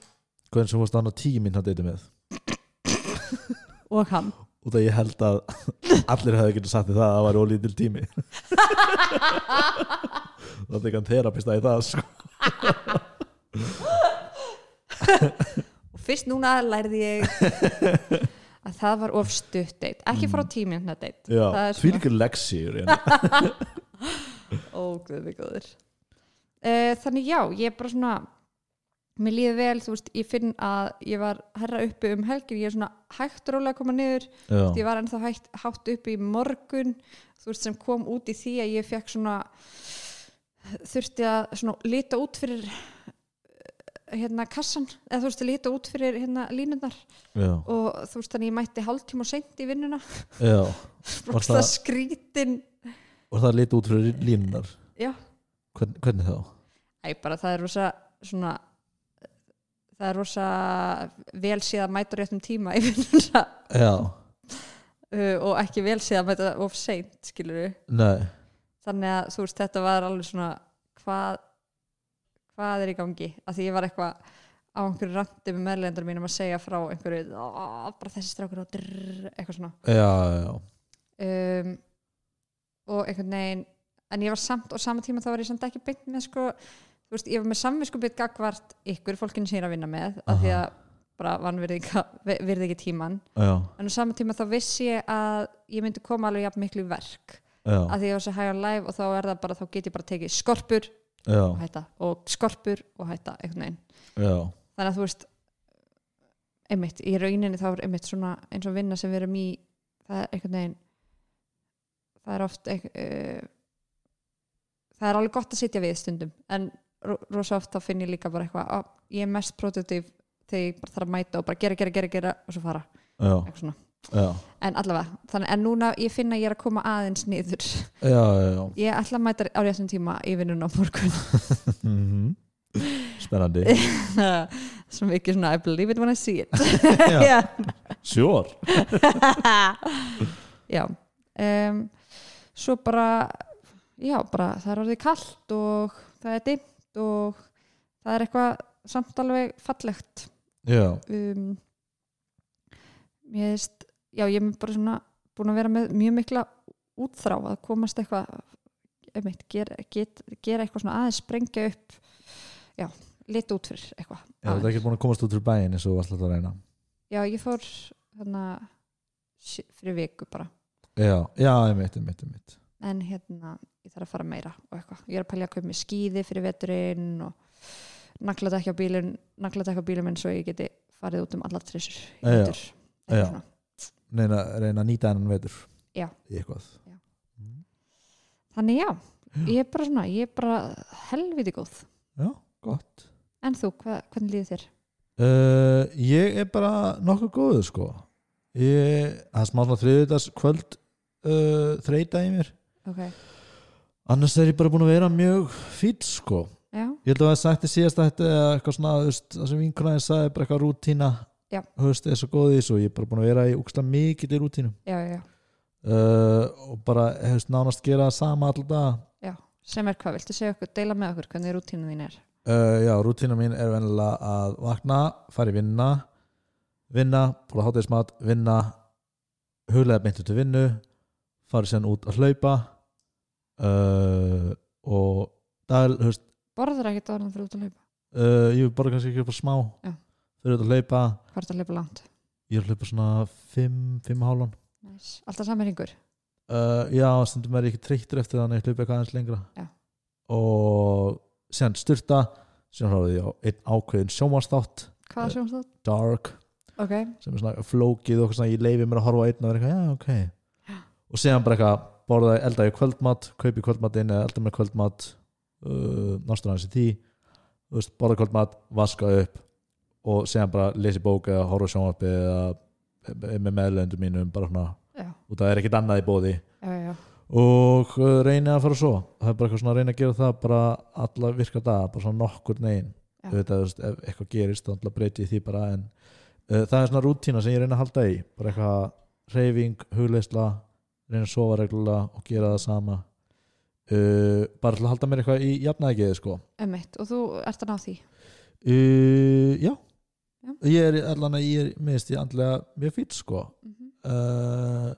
Speaker 1: hvernig sem fórst annað tíu minn að deyta með
Speaker 2: og hann
Speaker 1: og það ég held að allir hefði getið sagt því það að það var ólítil tími þá tekur hann terapista í það sko.
Speaker 2: og fyrst núna lærði ég að það var of stutt date ekki fara á tímjöndna date
Speaker 1: já,
Speaker 2: Það er svona-
Speaker 1: þvílíkur leksíur en-
Speaker 2: Ó, guðmi góður. Uh, þannig já, ég er bara svona, mér líður vel, þú veist, ég finn að ég var herra uppi um helgin, ég er svona hægt rólega að koma niður, ég
Speaker 1: já,
Speaker 2: var ennþá hægt, hátt uppi í morgun, þú veist, sem kom út í því að ég fekk svona, þurfti að svona lita út fyrir eh, hérna kassan, eða þú veist, lita út fyrir hérna línundar
Speaker 1: já,
Speaker 2: og þú veist, þannig ég mætti hálftíma og seint í vinnuna,
Speaker 1: já
Speaker 2: rokslega skrítin,
Speaker 1: og það liti út fyrir línunar
Speaker 2: já,
Speaker 1: Hvern, hvernig þá?
Speaker 2: Æ, bara það er rosa svona það er rosa vel séð að mæta á réttum tíma í vinnuna
Speaker 1: já,
Speaker 2: uh, og ekki vel séð að mæta of seint, skilur
Speaker 1: nei
Speaker 2: þannig að þú veist, þetta var alveg svona hvað hvað er í gangi, af því ég var eitthvað á einhverju randi með meðlendur mínum að segja frá einhverju, "Á, bara þessi strákur og drrr, eitthvað svona
Speaker 1: já, já, já,
Speaker 2: um, og einhvern veginn en ég var samt og sama tíma þá var ég samt ekki beint með sko, þú veist, ég var með samvisku beitt gagvart ykkur, fólkinu sem ég er að vinna með af því að bara vann virði ekki tíman,
Speaker 1: já,
Speaker 2: en á sama tíma þá vissi ég að ég myndi koma alveg jafn miklu í verk,
Speaker 1: já,
Speaker 2: af því ég var svo hæg á live og þá er það bara, þá get ég bara tekið skorpur
Speaker 1: já,
Speaker 2: og hætta, og skorpur og hætta, einhvern veginn,
Speaker 1: já.
Speaker 2: þannig að þú veist einmitt, í rauninni þá er einmitt svona eins og vinna sem við erum í það er einhvern veginn það er oft einhver, uh, það er alveg gott að sitja við stundum en ro- rosa oft þá finn ég líka bara eitthvað að ég er mest produktív þegar ég bara þarf að mæta og bara gera, gera, gera, gera og svo fara,
Speaker 1: já,
Speaker 2: eitthvað svona
Speaker 1: já.
Speaker 2: en allavega, þannig en núna ég finn að ég er að koma aðeins niður,
Speaker 1: já, já, já.
Speaker 2: ég ætla að mæta á réttum tíma í vinnun á morgun
Speaker 1: Mhm. spennandi
Speaker 2: sem ekki svona I believe it when I see it
Speaker 1: Já.
Speaker 2: já
Speaker 1: sure
Speaker 2: já um, svo bara já, bara það er orðið kallt og það er dimmt og það er eitthvað samt alveg fallegt
Speaker 1: já,
Speaker 2: um, ég veist já, ég er bara svona búin að vera með mjög mikla útþrá að komast eitthvað einmitt, gera, get, gera eitthvað svona aðeins sprengja upp já, lita út fyrir eitthvað
Speaker 1: já það er ekki búin að komast út úr bæin eins og þú varst alltaf að reyna
Speaker 2: já, ég fór þannig fyrir viku bara
Speaker 1: já, já, einmitt, einmitt, einmitt
Speaker 2: en hérna ég þarf að fara meira og eitthvað ég er að pælja að kaupa mér skíði fyrir veturinn og nagla ekki á bílum nagla ekki á bílum eins og ég geti farið út um allar trissur í
Speaker 1: Já,
Speaker 2: vetur Eitthvað
Speaker 1: já.
Speaker 2: svona.
Speaker 1: reyna, reyna að nýta hennan vetur
Speaker 2: Já.
Speaker 1: í eitthvað
Speaker 2: Já.
Speaker 1: Mm.
Speaker 2: þannig já, ég er bara svona ég er bara helviti góð
Speaker 1: já, gott
Speaker 2: en þú, hva, hvernig líður þér?
Speaker 1: uh, ég er bara nokkuð góður sko ég, það er smá svona þriðudags kvöld uh, þreita í mér
Speaker 2: ok,
Speaker 1: annars er ég bara búin að vera mjög fýt sko
Speaker 2: já,
Speaker 1: ég held að það sætti síðast að þetta eða eitthvað svona, þú veist, það sem vinkunaðin sagði bara eitthvað rútína
Speaker 2: Já.
Speaker 1: þú veist, er svo góð í þessu og ég er bara búin að vera í úksla mikið í rútínum
Speaker 2: já, já,
Speaker 1: uh, og bara, þú veist, nánast gera það sama alltaf daga
Speaker 2: já sem er hvað, viltu segja okkur, deila með okkur hvernig rútínu þín er
Speaker 1: Uh, já, rútína mín er venjulega að vakna, fara í vinna vinna, búið að hátegismat vinna, huglega beintu til vinnu fara sérna út að hlaupa uh, og dagal, þú veist
Speaker 2: borður ekki dórnum fyrir út að hlaupa
Speaker 1: uh, ég borða kannski ekki upp á smá
Speaker 2: Já.
Speaker 1: þau eru að hlaupa,
Speaker 2: hvað er það að hlaupa langt
Speaker 1: ég er að hlaupa svona 5 hálón
Speaker 2: nice. alltaf saman ringur
Speaker 1: uh, já, stundum er ég ekki treyttur eftir þannig að hlaupa eitthvað aðeins lengra
Speaker 2: Já.
Speaker 1: og sérna styrta sérna hláði ég á einn ákveðin sjómastátt
Speaker 2: hvað sjónst það?
Speaker 1: dark
Speaker 2: ok,
Speaker 1: sem er svona flókið og eitthvað svona ég leifi mér að horfa á einn og vera eitthvað, já, ok og síðan bara eitthvað, borða, elda ég kvöldmat kaupi kvöldmatinn eða elda mér kvöldmat uh, nástur aðeins í tí þú veist, borða kvöldmat, vaska upp og síðan bara lesi bók eða horfa á sjónvarpi eða er með meðlöndum mínum, bara svona
Speaker 2: já,
Speaker 1: og það er ekkert annað í bóði
Speaker 2: já, já, já.
Speaker 1: og uh, reyni að fara svo það er bara eitthvað svona að reyna að gera það bara alla virka daga, bara svona nokkur negin
Speaker 2: Já.
Speaker 1: auðvitað, þú veist, ef eitthvað gerist þá náttúrulega breyti ég því bara en uh, það er svona rútína sem ég reyna að halda í bara eitthvað reyfing, hugleysla reyna að sofa reglulega og gera það sama uh, bara til að halda mér eitthvað í jafnægiði sko
Speaker 2: Einmitt. og þú ert að ná því
Speaker 1: uh, já.
Speaker 2: Já.
Speaker 1: ég er allan að ég er minnst ég andlega mjög fýtt sko
Speaker 2: Mhm.
Speaker 1: uh,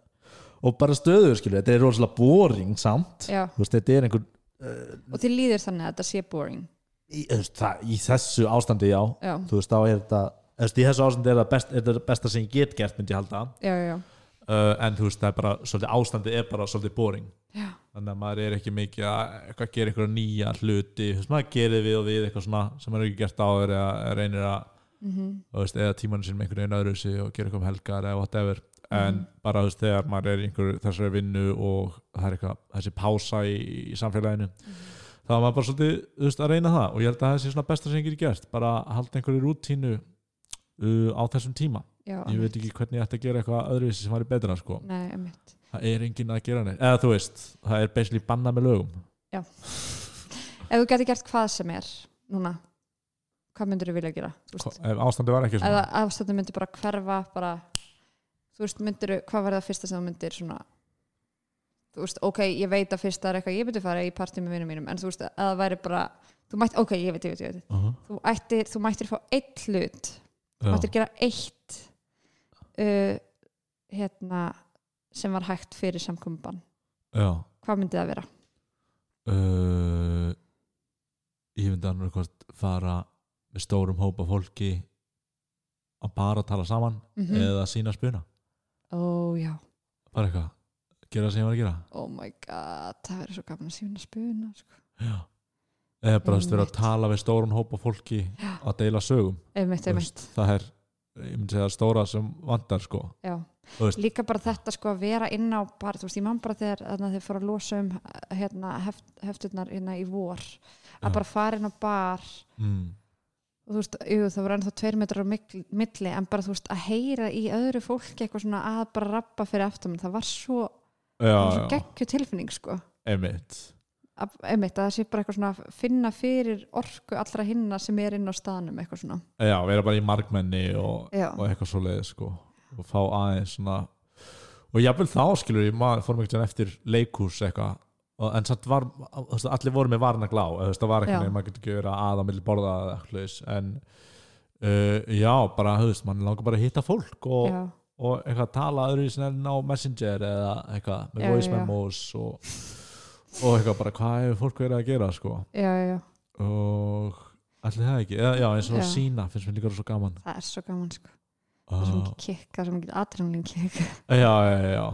Speaker 1: og bara stöður skilur, þetta er rosalega boring samt
Speaker 2: já.
Speaker 1: þú veist, þetta er einhver uh,
Speaker 2: og þið líðir þannig að þetta sé boring
Speaker 1: í, þú veist, það, í þessu ástandi já
Speaker 2: já,
Speaker 1: þú veist, þá er þetta þú veist, í þessu ástandi er það, best, er það besta sem ég get gert myndi ég halda,
Speaker 2: já, já, já.
Speaker 1: uh, en þú veist, það er bara svolítið, ástandi er bara svolítið boring
Speaker 2: Já.
Speaker 1: þannig að maður er ekki mikið að eitthvað gera einhverja nýja hluti, þú veist, maður gerir við og við eitthvað svona sem maður hefur ekki gert áður eða eða reynir að,
Speaker 2: Mm
Speaker 1: þú veist, eða tímanu sinni með einhvern veginn öðru sig og gera eitthvað um helgar eða whatever, en bara þú veist, þegar maður er í einhverju þessari vinnu og það er eitthvað, þessi pása í, í samfélaginu þá er maður bara svolítið þú veist, að reyna það og ég held að það sé svona besta sem ég getur gert bara að halda einhverju rútínu uh, á þessum tíma
Speaker 2: já
Speaker 1: ég veit ekki hvernig ég ætti að gera eitthvað öðruvísi sem var betra sko.
Speaker 2: Nei, einmitt.
Speaker 1: það er enginn að gera neitt eða þú veist, það er basically banna með lögum
Speaker 2: ef þú geti gert hvað sem er núna, hvað myndur þú vilja gera? Þú veist,
Speaker 1: ef ástandi var ekki
Speaker 2: eða
Speaker 1: svona
Speaker 2: afstættu myndur bara hverfa bara, þú veist, myndur hvað var það fyrsta sem þú myndir svona þú veist, ok, ég veit að fyrsta er eitthvað ég myndi fara í partí með vinum mínum en þú veist, að það væri bara, þú mætt, ok, ég veit, ég veit, ég veit
Speaker 1: uh
Speaker 2: þú, ættir, þú mættir fá eitt hlut þú
Speaker 1: -huh.
Speaker 2: mættir gera eitt uh, hérna sem var hægt fyrir samkumban
Speaker 1: já, já.
Speaker 2: hvað myndi það vera?
Speaker 1: Uh, ég myndi annað hvort fara með stórum hópa fólki að bara tala saman
Speaker 2: Mm
Speaker 1: eða sína spuna
Speaker 2: Ó, já,
Speaker 1: bara eitthvað, gera það sem ég var að gera
Speaker 2: oh my god það verður svo gaman að sína spuna sko.
Speaker 1: Já. eða bara þú veist, vera að
Speaker 2: Einmitt.
Speaker 1: tala við stóran hópa fólki
Speaker 2: Já.
Speaker 1: að deila sögum
Speaker 2: einmitt,
Speaker 1: Þú
Speaker 2: einmitt,
Speaker 1: veist, það er, ég myndi segja, stóra sem vandar sko
Speaker 2: já
Speaker 1: Þú veist.
Speaker 2: líka bara þetta sko að vera inn á bara, þú veist, ég man bara þegar þannig að þau fóru að losa um hérna, heft, hefturnar hérna í vor að
Speaker 1: Já.
Speaker 2: bara fara inn á bar
Speaker 1: mm.
Speaker 2: og þú veist, jú, það voru ennþá tveir metrar á mikl- milli, en bara þú veist, að heyra í öðru fólki eitthvað svona að bara rappa fyrir aftan, það var svo,
Speaker 1: já,
Speaker 2: það var svo
Speaker 1: já,
Speaker 2: geggju tilfinning sko,
Speaker 1: einmitt
Speaker 2: að, einmitt að það sé bara eitthvað svona að finna fyrir orku allra hinna sem er inn á staðnum eitthvað svona,
Speaker 1: já, vera bara í margmenni og,
Speaker 2: já,
Speaker 1: sko. og eitthvað svo leið sko og fá aðeins svona og jafnvel þá skilur ég, maður fórum eitthvað eftir leikhús eitthvað og- en samt var, þú veist, allir voru með varna glá þú veist, það var
Speaker 2: Já.
Speaker 1: eitthvað, maður getur ekki verið að aða milli borða eða eitthvað leis, en uh, já, bara, þú veist, mann langar bara að hitta fólk og,
Speaker 2: já,
Speaker 1: og eitthvað að tala öðru í enn á Messenger eða eitthvað með
Speaker 2: Já,
Speaker 1: voice
Speaker 2: já.
Speaker 1: memos og, og eitthvað bara hvað hefur fólk verið að gera sko
Speaker 2: já, já, já,
Speaker 1: og allir það ekki, eða, já eins og
Speaker 2: Já.
Speaker 1: sína finnst mér líka svo gaman
Speaker 2: það er svo gaman sko, það er svo
Speaker 1: uh,
Speaker 2: mikið kikk, það er svo mikið adrenalin kikk,
Speaker 1: Ah, já, já, já, já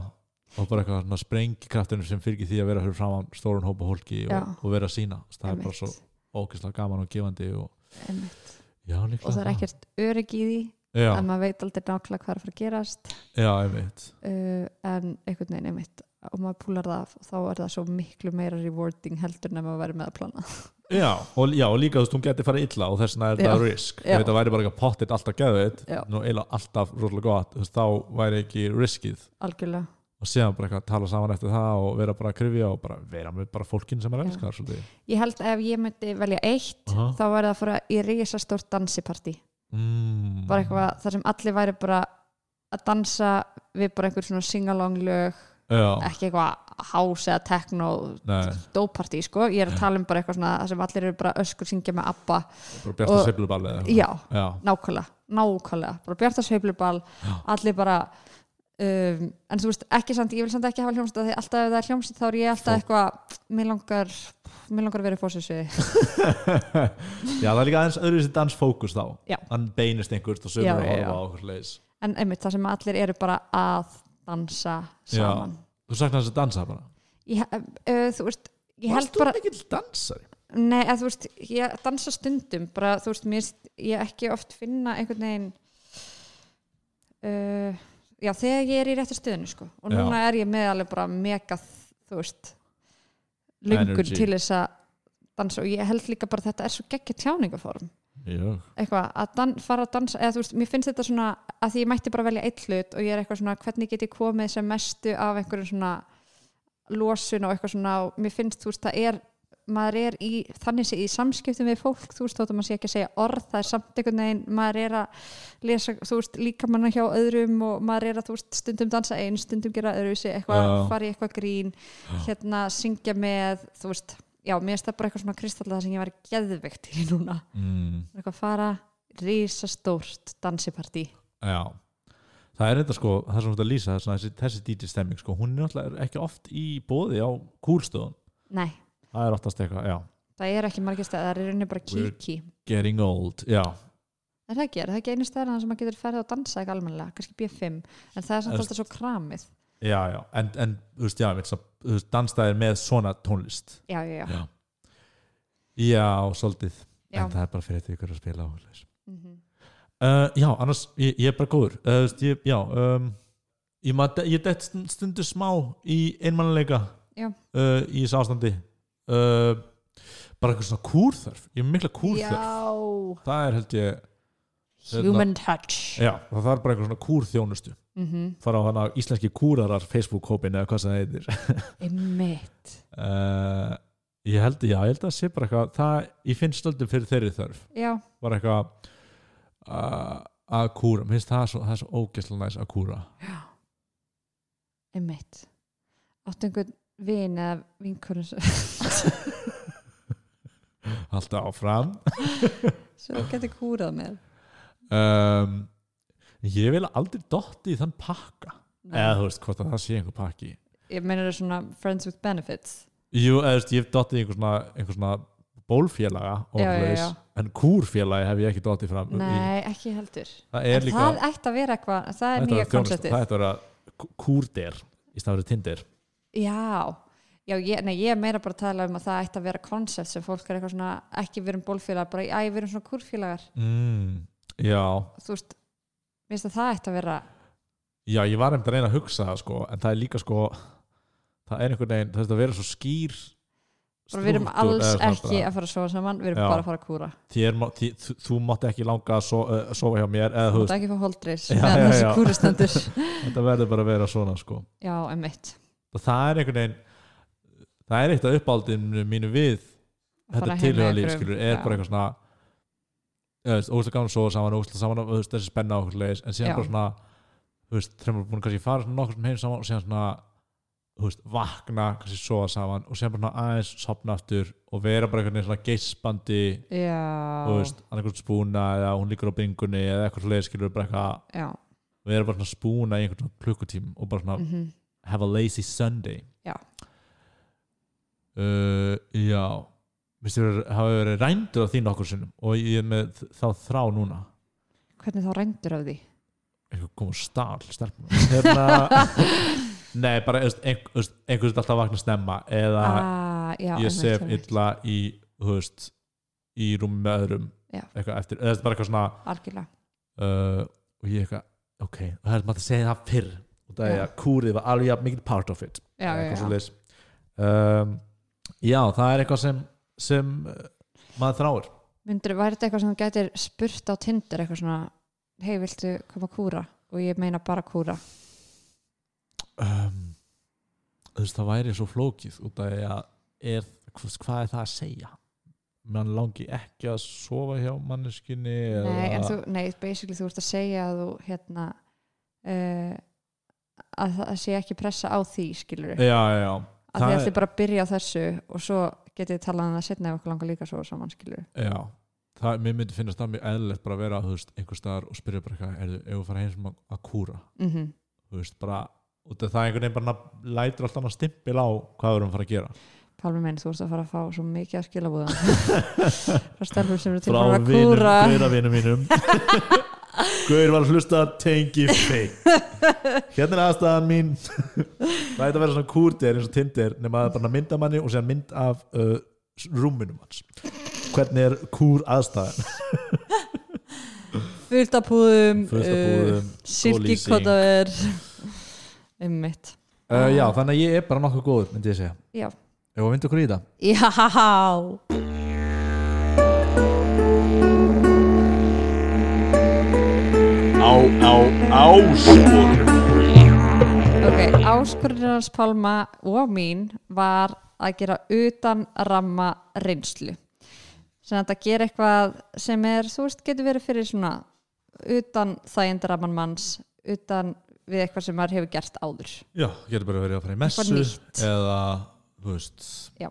Speaker 1: og bara eitthvað svona sprengkraftunum sem fylgir því að vera fyrir framan stórun hópa hólki
Speaker 2: Já.
Speaker 1: og, og vera sína, það er bara
Speaker 2: einmitt,
Speaker 1: svo ókvæslega gaman og gefandi og
Speaker 2: einmitt,
Speaker 1: já, líklega
Speaker 2: og það er ekkert örygg í því,
Speaker 1: Ah. já,
Speaker 2: að maður veit aldrei nákvæmlega hvað er að fara að gerast,
Speaker 1: já, einmitt
Speaker 2: uh, en einhvern veginn einmitt og maður púlar það af og þá er það svo miklu meira rewarding heldur en að maður verið með að plana
Speaker 1: Já, og, já, og líka þú veist, hún geti farið illa og þess vegna er þetta
Speaker 2: Já.
Speaker 1: risk
Speaker 2: Já.
Speaker 1: ef þetta væri bara eitthvað pottitt alltaf geðið
Speaker 2: Já.
Speaker 1: nú eila alltaf rosalega gott þú veist, þá væri ekki riskið
Speaker 2: algjörlega
Speaker 1: og séðan bara eitthvað að tala saman eftir það og vera bara að krifja og bara vera með bara fólkin sem er
Speaker 2: Já.
Speaker 1: elskar svolítið
Speaker 2: ég held að ef ég myndi velja eitt
Speaker 1: Aha.
Speaker 2: þá var það að fara í risastórt dansipartí
Speaker 1: mm.
Speaker 2: bara eitthvað þar sem allir væri bara að dansa við bara einhver svona singalong lög
Speaker 1: já,
Speaker 2: ekki eitthvað house eða techno
Speaker 1: nei,
Speaker 2: dópartí sko, ég er að tala um bara eitthvað svona þar sem allir eru bara öskur syngja með abba
Speaker 1: bara bjarta
Speaker 2: Og-
Speaker 1: sveifluballið
Speaker 2: já,
Speaker 1: já,
Speaker 2: nákvæmlega, nákvæmlega bara bjarta sveifluball, allir bara um, en þú veist ekki samt, ég vil samt ekki hafa hljómsið því alltaf ef það er hljómsið þá er ég alltaf eitthvað mér langar, mér langar að vera í fósessi
Speaker 1: já, það er líka aðeins öðruvísi dansfókus þá
Speaker 2: Já.
Speaker 1: hann beinist einhvert og
Speaker 2: Já,
Speaker 1: sögur að
Speaker 2: já, já.
Speaker 1: horfa á okkur leis
Speaker 2: en einmitt þar sem allir eru bara að dansa saman
Speaker 1: þú saknar þess að dansa bara
Speaker 2: ég, uh, þú veist, ég held bara
Speaker 1: Varst þú mikill dansari?
Speaker 2: nei, eða, þú veist, ég dansa stundum bara, þú veist, mér finnst- ég ekki oft finna einhvern veginn uh, já, þegar ég er í réttu stöðinu, sko og
Speaker 1: Já.
Speaker 2: núna er ég með alveg bara mega þú veist, lungun
Speaker 1: Energy.
Speaker 2: til þess að dansa og ég held líka bara að þetta er svo geggja tjáningaform
Speaker 1: já,
Speaker 2: eitthvað, að dan, fara að dansa eða þú veist, mér finnst þetta svona, að því ég mætti bara velja eitt hlut og ég er eitthvað svona, hvernig get ég komið sem mestu af einhverjum svona losun og eitthvað svona og mér finnst, þú veist, það er maður er í, þannig sé í samskiptum við fólk, þú veist, þótt að maður sé ekki að segja orð það er samt einhvern veginn, maður er að lesa, þú veist, líka manna hjá öðrum og maður er að, þú veist, stundum dansa einn stundum gera öðruvísi, eitthvað,
Speaker 1: Já.
Speaker 2: fara í eitthvað grín hérna, syngja með þú veist, já, mér finnst það bara eitthvað svona kristallað sem ég var geðveikt í núna
Speaker 1: mm,
Speaker 2: eitthvað að fara risastórt dansipartí
Speaker 1: já það er þetta sko, það er svona að lýsa svona, þessi, þessi DJ stemming sko, hún er náttúrulega ekki oft í bóði á kúlstöðun
Speaker 2: nei,
Speaker 1: það er oftast eitthvað, já
Speaker 2: það er ekki margir stæðar, það er í rauninni bara
Speaker 1: Weird.
Speaker 2: kíki
Speaker 1: getting old, já
Speaker 2: er það ekki, er það ekki einu stæðar sem maður getur ferðið og dansa ekki almennilega, kannski B5 en það er samt
Speaker 1: Er-
Speaker 2: alltaf svo kramið
Speaker 1: já, já, en, en þú veist, já, ég veit, svo, þú veist, dansstæðir með svona tónlist
Speaker 2: já, já, já,
Speaker 1: Já. já, svolítið,
Speaker 2: já.
Speaker 1: en það er bara fyrir þetta ykkur að spila á leis.
Speaker 2: Mm
Speaker 1: Uh, já, annars, ég, ég er bara góður uh, þú veist, ég, já um, ég, maður, de- ég dett stund- stundu smá í einmannleika
Speaker 2: Já.
Speaker 1: uh, í þessu ástandi uh, bara eitthvað svona kúrþörf ég er mikla kúrþörf
Speaker 2: já,
Speaker 1: það er held ég, hérna,
Speaker 2: human touch
Speaker 1: já, það þarf bara eitthvað svona kúrþjónustu
Speaker 2: mm
Speaker 1: fara á hana íslenski kúrarar Facebook-hópin eða hvað sem það heitir
Speaker 2: einmitt
Speaker 1: uh, ég held, já, ég held að sé bara eitthvað það, ég finn stöldum fyrir þeirri þörf
Speaker 2: já,
Speaker 1: bara eitthvað uh, að kúra, mér finnst það svo, það er svo ógeðslega næs að kúra
Speaker 2: einmitt áttu einhvern vin eða vinkurinn sem-
Speaker 1: alltaf áfram
Speaker 2: sem þú getur kúrað með
Speaker 1: um, ég vil aldrei dotti í þann pakka eða þú veist hvort að það sé einhver pakki
Speaker 2: ég meina það svona friends with benefits
Speaker 1: Jú, eða þú veist, ég hef dottið í einhver svona, einhver svona bólfélaga og
Speaker 2: Já, já,
Speaker 1: svoleiðis,
Speaker 2: já.
Speaker 1: en kúrfélagi hef ég ekki dottið fram í.
Speaker 2: nei, ekki heldur
Speaker 1: það er
Speaker 2: En
Speaker 1: líka
Speaker 2: það ætti að vera eitthvað, það er
Speaker 1: þetta
Speaker 2: nýja
Speaker 1: að þjónusta,
Speaker 2: konceptið
Speaker 1: það ætti að vera kú- kúrder í staðverið tindir
Speaker 2: já, já ég, nei, ég er meira bara að tala um að það ætti að vera koncept sem fólk er eitthvað svona, ekki við erum bólfélagar bara, æ, við erum svona kúrfélagar
Speaker 1: mm, já,
Speaker 2: þú veist, mér finnst að það ætti að vera
Speaker 1: já, ég var einmitt að reyna að hugsa það sko, en það er líka sko það er einhvern veginn, það þarf að vera svo skýr
Speaker 2: bara, við erum
Speaker 1: strúktúr,
Speaker 2: alls
Speaker 1: eða svona
Speaker 2: ekki
Speaker 1: bara-
Speaker 2: að fara að sofa saman við erum
Speaker 1: Já.
Speaker 2: bara að fara að kúra,
Speaker 1: þér, má- þi- þú, þú mátt ekki langa að so, uh, sofa hjá mér eða þú
Speaker 2: þú
Speaker 1: veist,
Speaker 2: ert ekki að fá holdreis
Speaker 1: Já,
Speaker 2: meðan
Speaker 1: já,
Speaker 2: þessi
Speaker 1: já.
Speaker 2: kúrustendur
Speaker 1: þetta verður bara að vera svona sko.
Speaker 2: já, emmitt,
Speaker 1: og það er einhvern veginn það er eitt af uppáldinu mínu við þetta tilhjóðalíf skilur er bara eitthvað svona ógæslega gaman að sofa saman, ógæslega saman og þú veist, þessi spenna okkur leis, en síðan
Speaker 2: Já.
Speaker 1: bara svona þú veist, þreymur búin kannski að fara svona nokkur sem heim saman og síðan svona þú veist, vakna, kannski sofa saman og síðan bara svona aðeins sopna aftur og vera bara einhvern veginn svona geispandi þú
Speaker 2: já,
Speaker 1: veist, annarkvæmt spúna eða hún líkur á bingunni eða eitthvað leis skilur bara eitthvað
Speaker 2: já,
Speaker 1: við erum bara svona að spúna í einhvern svona klukkutíma og bara svona
Speaker 2: mhm
Speaker 1: have a lazy Sunday
Speaker 2: Já.
Speaker 1: uh, já minnst þér hafa verið rændur af þín okkur sinnum og ég er með þá þrá núna
Speaker 2: hvernig þá rændur af því
Speaker 1: eitthvað kom og stál stelpum hérna nei bara einhvers einhvers alltaf að vakna snemma eða
Speaker 2: ah, já,
Speaker 1: ég
Speaker 2: einmitt,
Speaker 1: sef
Speaker 2: einmitt.
Speaker 1: illa í þú veist í rúmi með öðrum
Speaker 2: Já.
Speaker 1: eitthvað eftir eða þetta er bara eitthvað svona
Speaker 2: algjörlega
Speaker 1: uh, og ég eitthvað ok, það er maður að segja það fyrr og það er
Speaker 2: Já.
Speaker 1: að kúrið var alveg jafn mikið part of it
Speaker 2: já, já,
Speaker 1: eitthvað
Speaker 2: já.
Speaker 1: svoleiðis. um, já, það er eitthvað sem, sem uh, maður þráir
Speaker 2: Myndir, væri þetta eitthvað sem þú gætir spurt á Tinder eitthvað svona, hei, viltu koma að kúra? Og ég meina bara kúra.
Speaker 1: um, þú veist, það væri svo flókið út af því að er, hvað, hvað er það að segja mann langi ekki að sofa hjá manneskinni
Speaker 2: Nei, en
Speaker 1: eða,
Speaker 2: þú, nei, basically þú ert að segja að þú hérna uh, að það sé ekki pressa á því skilur
Speaker 1: já, já, já,
Speaker 2: að þið
Speaker 1: Eh, það
Speaker 2: ætti bara að byrja á þessu og svo getið þið talað um það setna ef okkur langar líka svo saman skilur
Speaker 1: já það, mér myndi finnast það mjög eðlilegt bara að vera þú veist, einhver staðar og spyrja bara eitthvað er þú, ef þú fara heim sem að, að kúra
Speaker 2: mm
Speaker 1: þú veist, bara, út af það einhvern veginn bara na- lætur alltaf annað stimpil á hvað við erum að fara að gera
Speaker 2: Pálmi minn, þú ert að fara að fá svo mikið að skilabúðan frá stelfur sem eru til
Speaker 1: frá
Speaker 2: að
Speaker 1: vinum,
Speaker 2: kúra
Speaker 1: gauravinum mínum Gaur var að hlusta tengi feik hérna er aðstæðan mín það er að vera svona kúrtir eins og tindir nema að bara mynda manni og segja mynd af uh, rúminum hans hvernig er kúr aðstæðan
Speaker 2: fullt af púðum,
Speaker 1: Fullt af púðum,
Speaker 2: uh, silkikotaver um mitt
Speaker 1: uh, já, þannig að ég er bara nokkuð góður myndi ég segja,
Speaker 2: já,
Speaker 1: ef að vinda okkur í það
Speaker 2: já
Speaker 3: á, á, áskorun
Speaker 2: Ok, áskorunarans Pálma og mín var að gera utan ramma reynslu sem þetta gera eitthvað sem er, þú veist, getur verið fyrir svona utan þægindaramman manns utan við eitthvað sem maður hefur gert áður
Speaker 1: já, getur bara verið að fara í
Speaker 2: messu
Speaker 1: messu
Speaker 2: nýtt.
Speaker 1: eða, þú veist
Speaker 2: Já.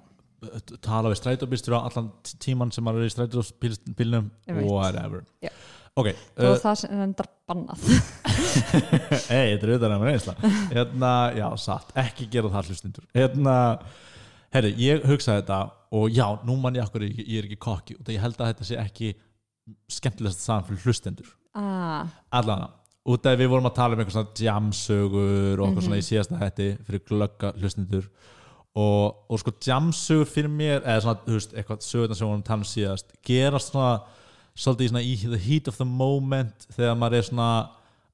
Speaker 1: tala við strætóbílstur á allan tíman sem maður er í strætóbílnum
Speaker 2: Einmitt.
Speaker 1: whatever
Speaker 2: Já.
Speaker 1: ok, uh,
Speaker 2: og það sem endar bannað
Speaker 1: Ei, þetta er auðvitað með reynsla hérna, Já, satt, ekki gera það hlustindur Hérna, herri, ég hugsaði þetta og já, nú man ég akkur ég, ég er ekki kokki og ég held að þetta sé ekki skemmtilegast saman fyrir hlustendur
Speaker 2: ah,
Speaker 1: Allana, út af því við vorum að tala um einhver svona jamsögur og eitthvað svona í síðasta hætti fyrir glögga hlustendur og, og sko jamsögur fyrir mér eða svona, þú veist, eitthvað sögurna sem við vorum að tala um síðast gerast svona svolítið í svona í the heat of the moment þegar maður er svona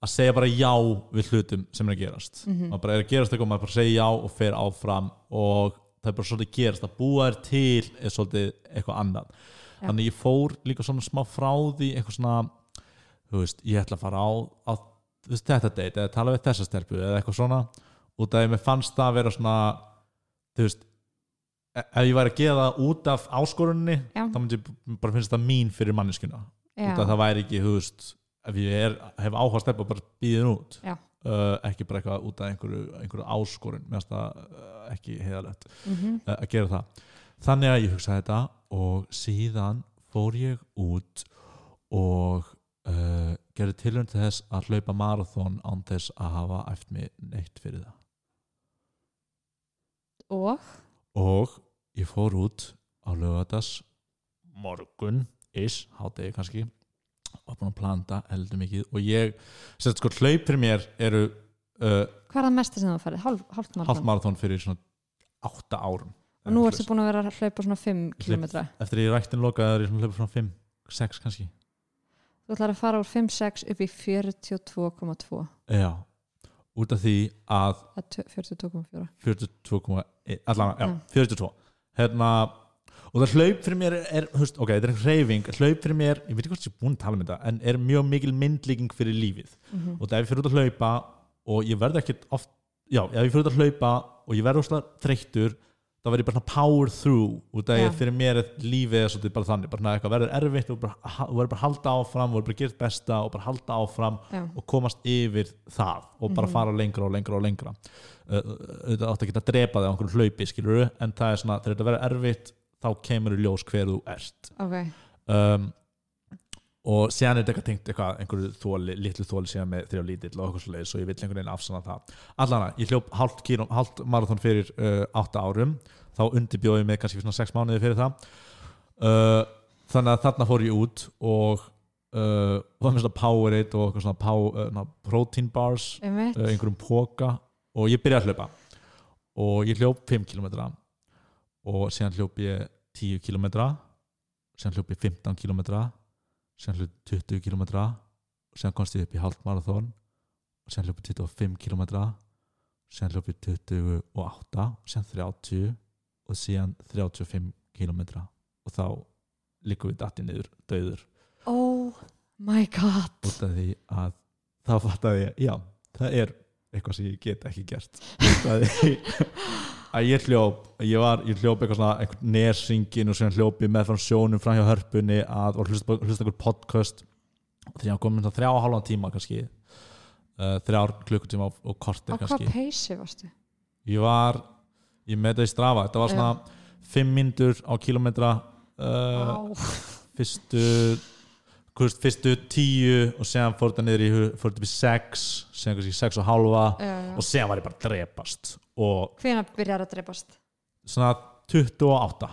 Speaker 1: að segja bara já við hlutum sem er að gerast maður bara er að gerast eitthvað, maður bara segja já og fer áfram og það er bara svolítið gerast að búa þér til er svolítið eitthvað annað þannig ég fór líka svona smá frá því eitthvað svona, þú veist, ég ætla að fara á, á þú veist, þetta date eða tala við þessa stelpu eða eitthvað svona út af því mér fannst það að vera svona þú veist e- ef ég væri að gera það út af áskoruninni
Speaker 2: Já.
Speaker 1: þá myndi ég b- bara finnst það mín fyrir manneskuna
Speaker 2: já,
Speaker 1: út af það væri ekki, þú veist ef ég er, hef áhuga að steppa bara býðin út
Speaker 2: Já.
Speaker 1: uh, ekki bara eitthvað út af einhverju, einhverju áskorun mér finnst það uh, ekki heiðalegt uh,
Speaker 2: mm
Speaker 1: að gera það þannig að ég hugsaði þetta og síðan fór ég út og uh, gerði tilhörn til þess að hlaupa marathón án þess að hafa æft mig neitt fyrir það
Speaker 2: og
Speaker 1: og ég fór út á lögadags morgun is, hádegi kannski var búin að planta heldur mikið og ég, sem sagt, sko hlaupir mér eru uh,
Speaker 2: hvað er það mesta sem þú færið? Hálf, hálft
Speaker 1: halvt
Speaker 2: margum
Speaker 1: marathón fyrir svona átta árum
Speaker 2: og nú ertu búin að vera að hlaupa svona 5 km þú
Speaker 1: eftir að ég ræktin lokaði er ég svona hlaupið svona 5, 6 kannski
Speaker 2: ætlar að fara úr 5-6 upp í 42,2
Speaker 1: já, út af því að
Speaker 2: Það er tö- 42,4
Speaker 1: 42,1 allan, já,
Speaker 2: Mm.
Speaker 1: 42 hérna, og það hlaup fyrir mér er, er hufst, ok, þetta er hreyfing, hlaup fyrir mér ég veit ekki hvort ég er búin að tala um þetta, en er mjög mikil myndlíking fyrir lífið,
Speaker 2: Mhm.
Speaker 1: og það ef ég fyrir út að hlaupa og ég verð ekkit oft já, ef ég fyrir út að hlaupa og ég verð óslega þreyttur, þá verð ég bara svona power through, út af
Speaker 2: Já.
Speaker 1: því að fyrir mér er lífið er svolítið bara þannig, bara svona eitthvað verður erfitt og bara, ha- þú verður bara að halda áfram, þú verður bara að gera þitt besta og bara halda áfram
Speaker 2: já
Speaker 1: og komast yfir það og bara fara lengra og lengra og lengra Uh, auðvitað átt að geta að drepa þig á einhverju hlaupi skilur en það er svona, þegar þetta verður erfitt þá kemur í ljós hver þú ert
Speaker 2: Ok,
Speaker 1: um, og séðan er þetta eitthvað tengt eitthvað, einhverju þóli, litlu þóli síðan með þrjá lítill og eitthvað svoleiðis og ég vill einhvern veginn afsanna það allan að ég hljóp hálft, kíló- hálft marathon fyrir uh, átta árum þá undirbjóði ég mig kannski fyrir svona sex mánuði fyrir það uh, þannig að þarna fór ég út og uh, var með svona Powerade og eitthvað svona pow, uh, na, protein bars
Speaker 2: einmitt
Speaker 1: uh, einhverjum póka og ég byrjaði að hlaupa og ég hljóp 5 km og síðan hljóp ég 10 km síðan hljóp ég 15 km síðan hljóp ég 20 km og síðan komst ég upp í halvt marathon og síðan hljóp ég 25 km síðan hljóp ég 28 síðan 30 og síðan 35 km og þá líkum við datti niður döður
Speaker 2: Oh my god
Speaker 1: út af því að þá fattaði ég, já, það er eitthvað sem ég get ekki gert að að ég hljóp ég, var, ég hljóp eitthvað svona eitthvað nersingin og sem hljópi með frá sjónum fram hjá hörpunni að og hlusta hlusta eitthvað podcast þegar ég var komin það þrjá og halvan tíma kannski uh, þrjár klukkutíma og, og kortir
Speaker 2: á hvað
Speaker 1: kannski Eh,
Speaker 2: peysi varstu?
Speaker 1: ég var, ég með þetta í strafa þetta var svona fimm myndur á kilometra uh,
Speaker 2: Á.
Speaker 1: fyrstu hvist, fyrstu tíu og séðan fór þetta niður í hu- fór þetta upp í sex, séðan kannski sex og halva
Speaker 2: Já, já.
Speaker 1: og séðan var ég bara að drepast og
Speaker 2: Eh, hvenær byrjar að dreipast?
Speaker 1: svona 28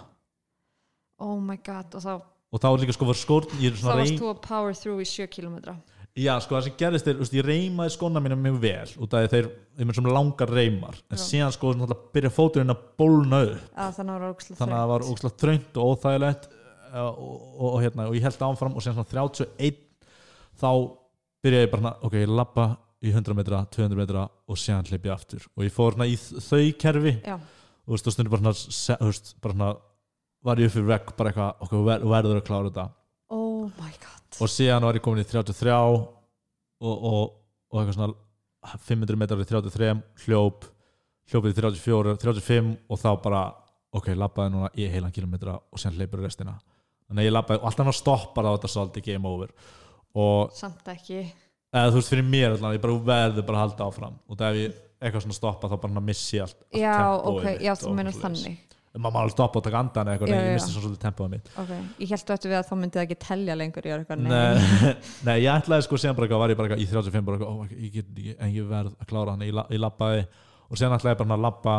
Speaker 2: oh my god og þá,
Speaker 1: og þá er líka sko var skórn ég er
Speaker 2: þá
Speaker 1: svona
Speaker 2: varst
Speaker 1: reym
Speaker 2: þú að power through í 7 kilometra
Speaker 1: já sko það sem gerðist er, þú veist, ég reymaði skóna mína mjög vel út af því þeir, ég með svona langar reymar en
Speaker 2: Já.
Speaker 1: síðan sko náttúrulega byrja fóturinn að bólna upp
Speaker 2: að þannig að það var ógæslega
Speaker 1: þannig að það var ógslag þröngt og óþægilegt uh, og, og, og, hérna, og ég held áfram og sem svona 31 þá byrjaði ég bara svona, ok, ég labba í 100 metra, 200 metra og síðan hleyp ég aftur og ég fór svona í þ- þau kerfi
Speaker 2: já,
Speaker 1: og þú veist, og stundur bara svona, se- þú veist, bara svona var ég upp fyrir vekk, bara eitthvað ok, þú ver, þú verður að klára þetta
Speaker 2: oh my god
Speaker 1: og síðan var ég komin í 33 og, og, og eitthvað svona 500 metrar í 33 hljóp, hljópið í 34 35 og þá bara ok, labbaði núna í heilan kilometra og síðan hleypur restina þannig að ég labbaði og alltaf hann stoppar á þetta svolítið game over og
Speaker 2: samt ekki
Speaker 1: eða þú veist fyrir mér allan, ég bara verður bara að halda áfram og það ef ég eitthvað svona stoppa þá bara hann missi ég allt, allt
Speaker 2: já,
Speaker 1: tempóið
Speaker 2: ok,
Speaker 1: mitt
Speaker 2: já,
Speaker 1: og
Speaker 2: þú meinar
Speaker 1: svoleiðis.
Speaker 2: þannig
Speaker 1: maður má alveg stoppa og taka andan eða eitthvað,
Speaker 2: Já,
Speaker 1: en
Speaker 2: já,
Speaker 1: ég
Speaker 2: já.
Speaker 1: missi svona svolítið tempóið mitt
Speaker 2: ok, ég held þú ættu við að þá myndið ekki telja lengur í eitthvað nei,
Speaker 1: Nei, nei, ég ætlaði sko síðan bara eitthvað, var ég bara eitthvað í 35 bara eitthvað, oh my god, ég get ekki, en ég verð að klára hann, ég, la- ég labbaði og síðan ætlaði ég bara að labba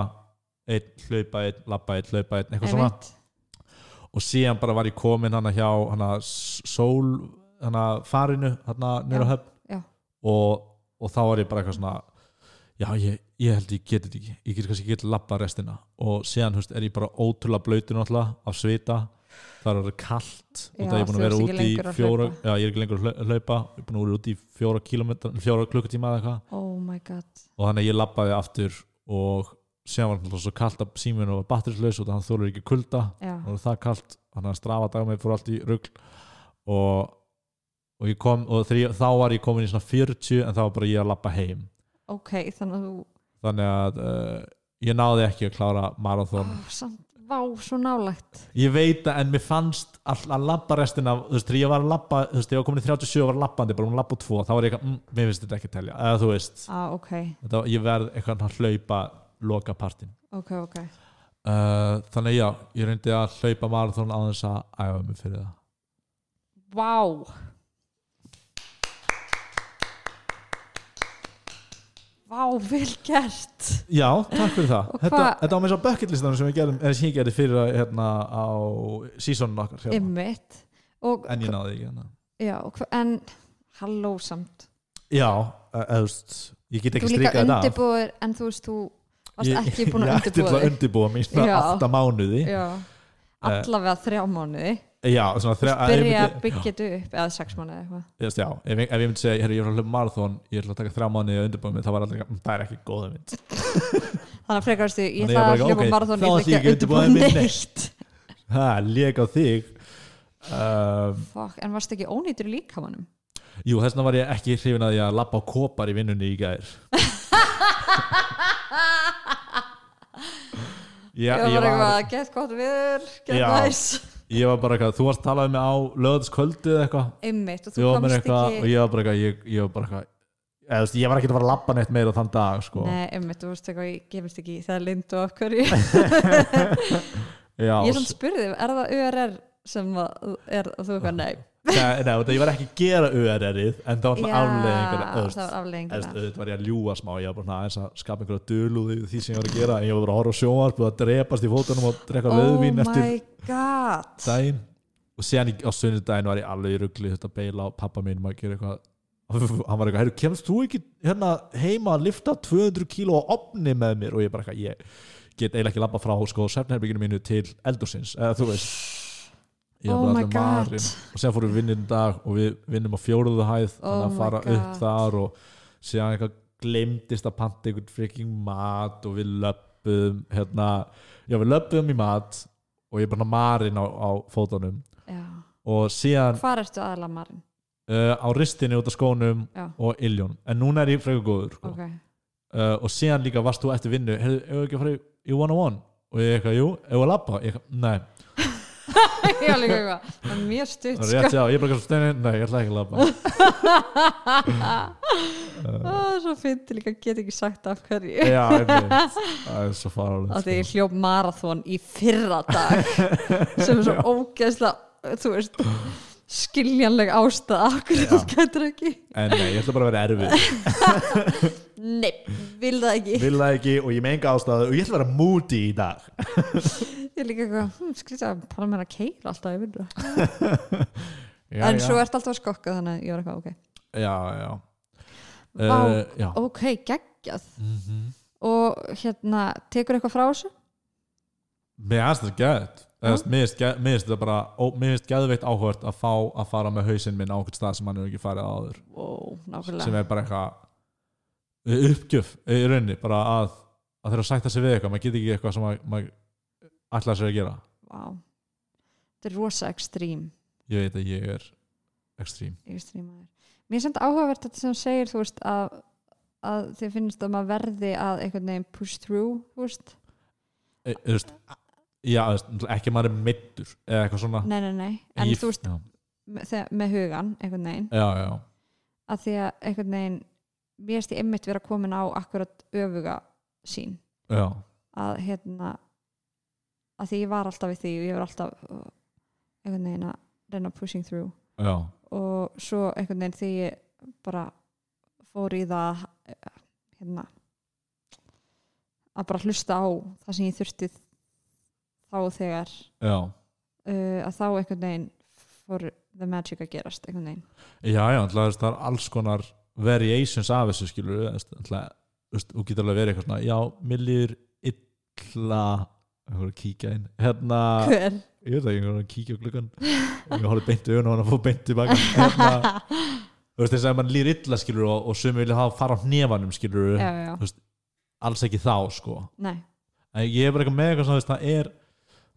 Speaker 1: einn, hlaupa einn, labba einn, hlaupa einn, eitthvað svona
Speaker 2: einmitt.
Speaker 1: og síðan bara var ég komin hana hjá hana sól, hana farinu hana nýra höfn
Speaker 2: já.
Speaker 1: og, og þá var ég bara eitthvað svona já, ég, ég held ég geti þetta ekki ég get kannski ekki labba restina og síðan, þú veist, er ég bara ótrúlega blöytur náttúrulega af svita, það er að vera kalt og
Speaker 2: Já,
Speaker 1: það er ég búin að
Speaker 2: þú
Speaker 1: vera
Speaker 2: ert ekki
Speaker 1: úti í
Speaker 2: lengur að
Speaker 1: fjóra
Speaker 2: hlaupa.
Speaker 1: já, ég er ekki lengur að hlau- hlaupa, ég er búin að vera úti í fjóra kilometra, fjóra klukkutíma eða eitthvað
Speaker 2: oh my god
Speaker 1: og þannig að ég labbaði aftur og síðan var náttúrulega svo kalt að síminu var batterislaus og þannig þólar ekki kulda
Speaker 2: já,
Speaker 1: og það kalt, þannig að strafa dag með fór allt í rugl og, og, ég kom, og þegar ég, þá var ég komin í svona 40 en þá var bara ég að labba heim
Speaker 2: ok, þannig að þú
Speaker 1: þannig að uh, ég náði ekki að klára marathón
Speaker 2: Ó, samt, vá, svo nálægt
Speaker 1: ég veit að en mér fannst all, að labba restina, þú veist, þegar ég var að labba þú veist, ég var komin í 37 og var labbandi, bara um labba og 2 þá var ég eitthvað, mm, mér finnst þetta ekki að telja eða þú veist,
Speaker 2: ah, ok,
Speaker 1: þetta, ég verð eitthvað að hlaupa loka partin
Speaker 2: ok, ok
Speaker 1: uh, þannig að já, ég reyndi að hlaupa marathón á þess að æfa mig fyrir það
Speaker 2: vá, vá, vel gert
Speaker 1: Já, takk fyrir það.
Speaker 2: Og
Speaker 1: Þetta,
Speaker 2: hvað-
Speaker 1: þetta var með svo bucketlistanum sem ég gerði, eða sem ég gerði fyrir að, hérna, á sísonun okkar. Hérna.
Speaker 2: Ymmit og,
Speaker 1: En ég náði ekki hérna.
Speaker 2: já, og hva- en halló samt
Speaker 1: Já, e- eða þú veist, ég get
Speaker 2: Þú
Speaker 1: ekki
Speaker 2: líka
Speaker 1: strikað þetta af.
Speaker 2: undirbúður en þú veist þú varst
Speaker 1: Ég-
Speaker 2: ekki búin að
Speaker 1: Ég ætti til að
Speaker 2: undirbúða þig.
Speaker 1: undirbúa mér svona
Speaker 2: Já.
Speaker 1: átta mánuði.
Speaker 2: Já, allavega þrjá mánuði
Speaker 1: Já, svona þrjá... ef ég
Speaker 2: byrja að
Speaker 1: myndi-
Speaker 2: byggja þetta upp eða sex mánuði eitthvað
Speaker 1: Já, þú veist, já, ef, ég- ef ég myndi segja, herru, ég er að hljópa marathón, ég ætla að taka þrjá mánuði að undirbúa mig, þá var allir, "Mm, það er ekki góða mynd.
Speaker 2: þannig að frekarstu, ég
Speaker 1: Þannig ég
Speaker 2: ætla
Speaker 1: bara
Speaker 2: að
Speaker 1: ekki,
Speaker 2: hljópa
Speaker 1: ok,
Speaker 2: marathón
Speaker 1: þá
Speaker 2: ég
Speaker 1: ætla ég
Speaker 2: ætla ekki
Speaker 1: ekki
Speaker 2: að undirbúða
Speaker 1: undirbúa mig
Speaker 2: neitt
Speaker 1: Ha, lék á þig. Um,
Speaker 2: Fuck, en varst ekki ónýtur í líkamannum
Speaker 1: jú, þess vegna var ég ekki hrifin að ég að lappa á kopar í vinnunni í gær. Já,
Speaker 2: ég var eitthvað að gett gott viður gett
Speaker 1: Já.
Speaker 2: næs
Speaker 1: ég var bara eitthvað, þú varst talað um mig á löðskvöldu eða eitthvað,
Speaker 2: Ymmit og
Speaker 1: ég
Speaker 2: þú
Speaker 1: var mér
Speaker 2: komst
Speaker 1: eitthvað og
Speaker 2: ekki
Speaker 1: ég var bara eitthvað, ég, ég var bara eitthvað eða, þú veist, ég var ekki að fara að labba neitt meira þann dag sko.
Speaker 2: Nei, ymmit, þú veist eitthvað, ég gefist ekki í það lindu af hverju
Speaker 1: Já,
Speaker 2: Ég
Speaker 1: ég,
Speaker 2: samt spurði, er það URR sem að, er, og þú eitthvað, nei
Speaker 1: nei, nei, þetta, ég var ekki að gera URR-ið en það var
Speaker 2: Já,
Speaker 1: svona afleðingar
Speaker 2: það var afleiðinguna.
Speaker 1: auðvitað var ég að ljúa smá ég var bara svona aðeins að skapa einhverja dölúði því sem ég var að gera, en ég var bara að horfa á sjónvarp og að drepast í fótunum og drekka
Speaker 2: Oh
Speaker 1: rauðvín eftir
Speaker 2: my god
Speaker 1: daginn og síðan í- á sunnudaginn var ég alveg í rugli þetta beila á pappa minn maður gera eitthvað hann var eitthvað, heyrðu, kemst þú ekki hérna heima að lifta 200 kíló á opni með mér og ég bara eitthvað, ég get eiginlega ekki labba frá sko svefnherbygginu mínu til eldursins, eða þú veist Ég er
Speaker 2: Oh
Speaker 1: bara
Speaker 2: my
Speaker 1: allir
Speaker 2: God.
Speaker 1: marinn. og síðan fórum við vinninn í dag og við vinnum á fjóruðu hæð þannig
Speaker 2: Oh
Speaker 1: að
Speaker 2: my
Speaker 1: fara upp
Speaker 2: God.
Speaker 1: þar og síðan eitthvað glemdist að panta einhvern freaking mat og við löpum hérna, já við löpum í mat og ég er bara marinn á, á fótunum
Speaker 2: Já.
Speaker 1: og síðan uh,
Speaker 2: Hvar ertu aðalega marinn?
Speaker 1: á ristinni út af skónum
Speaker 2: Já.
Speaker 1: og illjón en núna er ég frekar góður sko.
Speaker 2: Ok,
Speaker 1: uh, og síðan líka varst þú eftir vinnu heyrðu, hefur ekki að fara í- í one-on-one og ég eitthvað, jú, hefur að labba ég, eitthvað, nei,
Speaker 2: ég var líka eitthvað, það er mjög stutt
Speaker 1: það er
Speaker 2: sko.
Speaker 1: rétt já, ég bara steinu, nei, ég ætla ekki að labba
Speaker 2: Ó, svo fyndi líka, get ekki sagt af hverju
Speaker 1: já, einmitt. það er svo sko. farulegt
Speaker 2: að því ég hljóp marathon í fyrra dag sem er svo ógeðslega þú veist skiljanleg ástæða okkur þú getur ekki
Speaker 1: en nei, ég ætla bara að vera erfið
Speaker 2: nei, vil það ekki
Speaker 1: vil það ekki og ég með enga ástæðu og ég ætla að vera moody í dag
Speaker 2: ég er líka eitthvað, hm, skrýta að bara mér að keira alltaf í vinnu
Speaker 1: já,
Speaker 2: en
Speaker 1: já.
Speaker 2: svo ertu alltaf að skokka þannig að ég var eitthvað, ok
Speaker 1: já, já
Speaker 2: Vá,
Speaker 1: Uh, já. Mhm.
Speaker 2: ok, geggjað og hérna, tekur eitthvað frá þessu
Speaker 1: Mér finnst þetta gæðt Mér finnst geð- mér finnst þetta bara ó, Mér finnst geðveikt áhvert að fá að fara með hausinn minn á okkur stað sem hann hefur ekki farið áður
Speaker 2: wow,
Speaker 1: sem
Speaker 2: nákvæmlega
Speaker 1: er bara eitthvað eh, uppgjöf í rauninni bara að, að þeirra sætta sig við eitthvað maður getur ekki eitthvað sem maður- maður ætlaði sér að gera
Speaker 2: wow. þetta er rosa ekstrím
Speaker 1: Ég veit að ég er ekstrím
Speaker 2: yfirstreamaður. Mér er samt áhugavert þetta sem þú segir, þú veist, að, að þið finnst að maður verði að einhvern veginn push through, þú veist.
Speaker 1: e, þú veist, Já, þú veist, náttúrulega ekki að maður er middur eða eitthvað svona
Speaker 2: Nei, nei, nei. En
Speaker 1: Ég-
Speaker 2: þú veist,
Speaker 1: Já,
Speaker 2: með, þegar- með hugan, einhvern veginn,
Speaker 1: já, já,
Speaker 2: að því að einhvern veginn, mér erst ég einmitt vera komin á akkurat öfuga sín.
Speaker 1: já.
Speaker 2: Að hérna, að því ég var alltaf við því og ég var alltaf uh, einhvern veginn að reyna pushing through.
Speaker 1: já.
Speaker 2: og svo einhvern veginn þegar ég bara fór í það eh, hérna að bara hlusta á það sem ég þurfti þá og þegar
Speaker 1: já.
Speaker 2: uh, að þá einhvern veginn fór the magic að gerast einhvern veginn
Speaker 1: Já, já, ætla, veist, það er alls konar variations af þessu skilur veist, ætla, veist, og getur alveg verið eitthvað svona já, mér líður illa einhver að kíkja inn hérna,
Speaker 2: hver?
Speaker 1: ég veit ekki, einhver að kíkja á gluggan og ég horfði beint í augun og hann að fór beint tilbaka hérna, þú veist þess að mann líður illa skilur og, og sömu vilja hafa fara á hnefanum skilur
Speaker 2: já, já, já,
Speaker 1: alls ekki þá sko
Speaker 2: nei
Speaker 1: en ég er bara eitthvað með eitthvað svona þú veist, það er,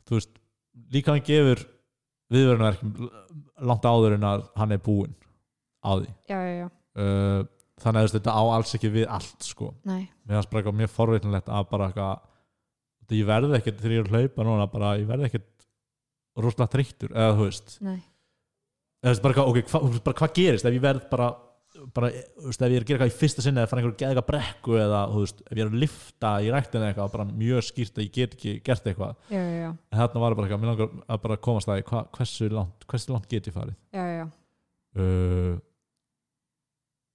Speaker 1: þú veist, líka hann gefur viðverunarverk langt áður en að hann er búinn á því
Speaker 2: já, já, já,
Speaker 1: uh, þannig að þú veist, þetta á alls ekki við allt sko.
Speaker 2: nei
Speaker 1: mér fannst bara eitthvað mjög forveitinlegt að bara eitthvað þetta ég verði ekkert þegar ég er að hlaupa núna bara ég verði ekkert rosalega þreyttur eða þú veist,
Speaker 2: Nei.
Speaker 1: eða, þú veist bara, eitthvað, ok, hva, þú veist, bara hvað gerist ef ég verð bara, bara þú veist, ef ég er að gera eitthvað í fyrsta sinni eða fara einhverju geðega brekku eða þú veist, ef ég er að lifta í ræktina eitthvað bara mjög skýrt að ég get ekki gert eitthvað
Speaker 2: já, já, já,
Speaker 1: en þarna var bara eitthvað, mér langar að bara komast að því, hva, hversu, langt, hversu langt get ég farið
Speaker 2: já, já, já,
Speaker 1: uh,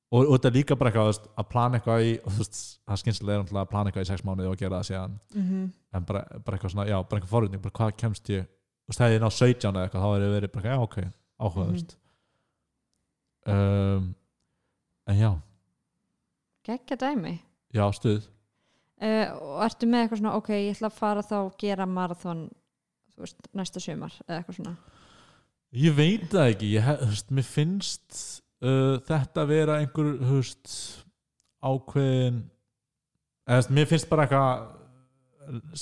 Speaker 1: og, og þetta er líka bara eitthvað þú veist, að plana eitthvað í og þú veist, það skynslega er náttúrulega að plana eitthvað í sex mánuði og gera það síðan
Speaker 2: mhm,
Speaker 1: en bara, bara eitthvað svona, já, bara eitthvað forutning bara hvað kemst ég, þú veist, hefði ég náð 17 eða eitthvað þá hefði ég verið bara, eitthvað, já, ok, áhugaðust um, en já,
Speaker 2: geggja dæmi
Speaker 1: já, stuð
Speaker 2: uh, og ertu með eitthvað svona, ok, ég ætla að fara þá og gera marathon, þú veist, næsta sumar eða eitthvað svona,
Speaker 1: ég veit það ekki, ég, hef- þú veist, mér finnst uh, þetta vera einhver, þú veist ákveðin eða, þú veist, mér finnst bara eitthvað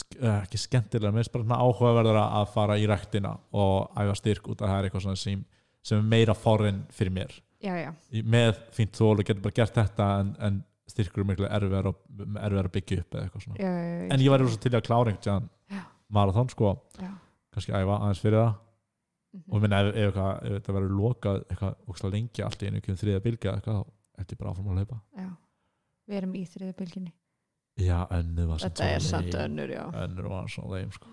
Speaker 1: sk- eh, ekki skemmtilega, mér finnst bara svona áhugaverður að fara í ræktina og æfa styrk út að það er eitthvað svona sem, sem er meira forinn fyrir mér
Speaker 2: já, já,
Speaker 1: Í- með fínt þól og getur bara gert þetta en, en styrkur er miklu erfiðar og- erfiðar að byggja upp eða eitthvað svona
Speaker 2: já, já, Mhm. já,
Speaker 1: en ég var rosa til í að klára einhvern
Speaker 2: Já.
Speaker 1: marathon sko,
Speaker 2: Já.
Speaker 1: kannski æfa aðeins fyrir það
Speaker 2: Mhm.
Speaker 1: og minna ef, ef, eitthvað, ef þetta verður lokað eitthvað ókslega lengi allt í einu kemur þriða bylgja eða eitthvað þá ætti ég bara áfram að hlaupa
Speaker 2: Já, við erum í þriðja bylginni.
Speaker 1: já, önnu var
Speaker 2: Þetta er samt
Speaker 1: önnu
Speaker 2: önnur, já.
Speaker 1: önnu var svo leim sko.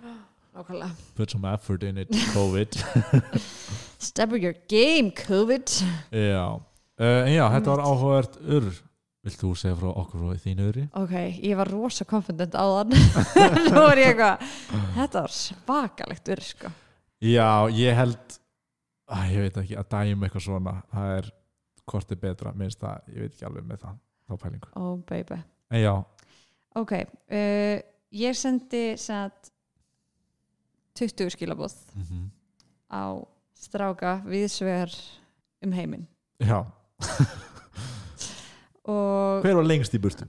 Speaker 2: Nákvæmlega.
Speaker 1: put some effort in it, COVID
Speaker 2: Step up your game, COVID.
Speaker 1: já, uh, en já, þetta var áhugavert ur, vilt þú segja frá okkur frá þínu urri?
Speaker 2: Ok, ég var rosa confident á þann. Nú er ég eitthvað, þetta var svakalegt verið, sko.
Speaker 1: já, ég held Æ, ég veit ekki, að dæmi eitthvað svona það er hvort er betra, minnst það ég veit ekki alveg með það, þá pælingu
Speaker 2: Oh, baby.
Speaker 1: en já,
Speaker 2: Ok, uh, ég sendi satt 20 skilabóð
Speaker 1: mm
Speaker 2: á stráka viðsvegar um heiminn.
Speaker 1: já
Speaker 2: Og,
Speaker 1: hver var lengst í burtu?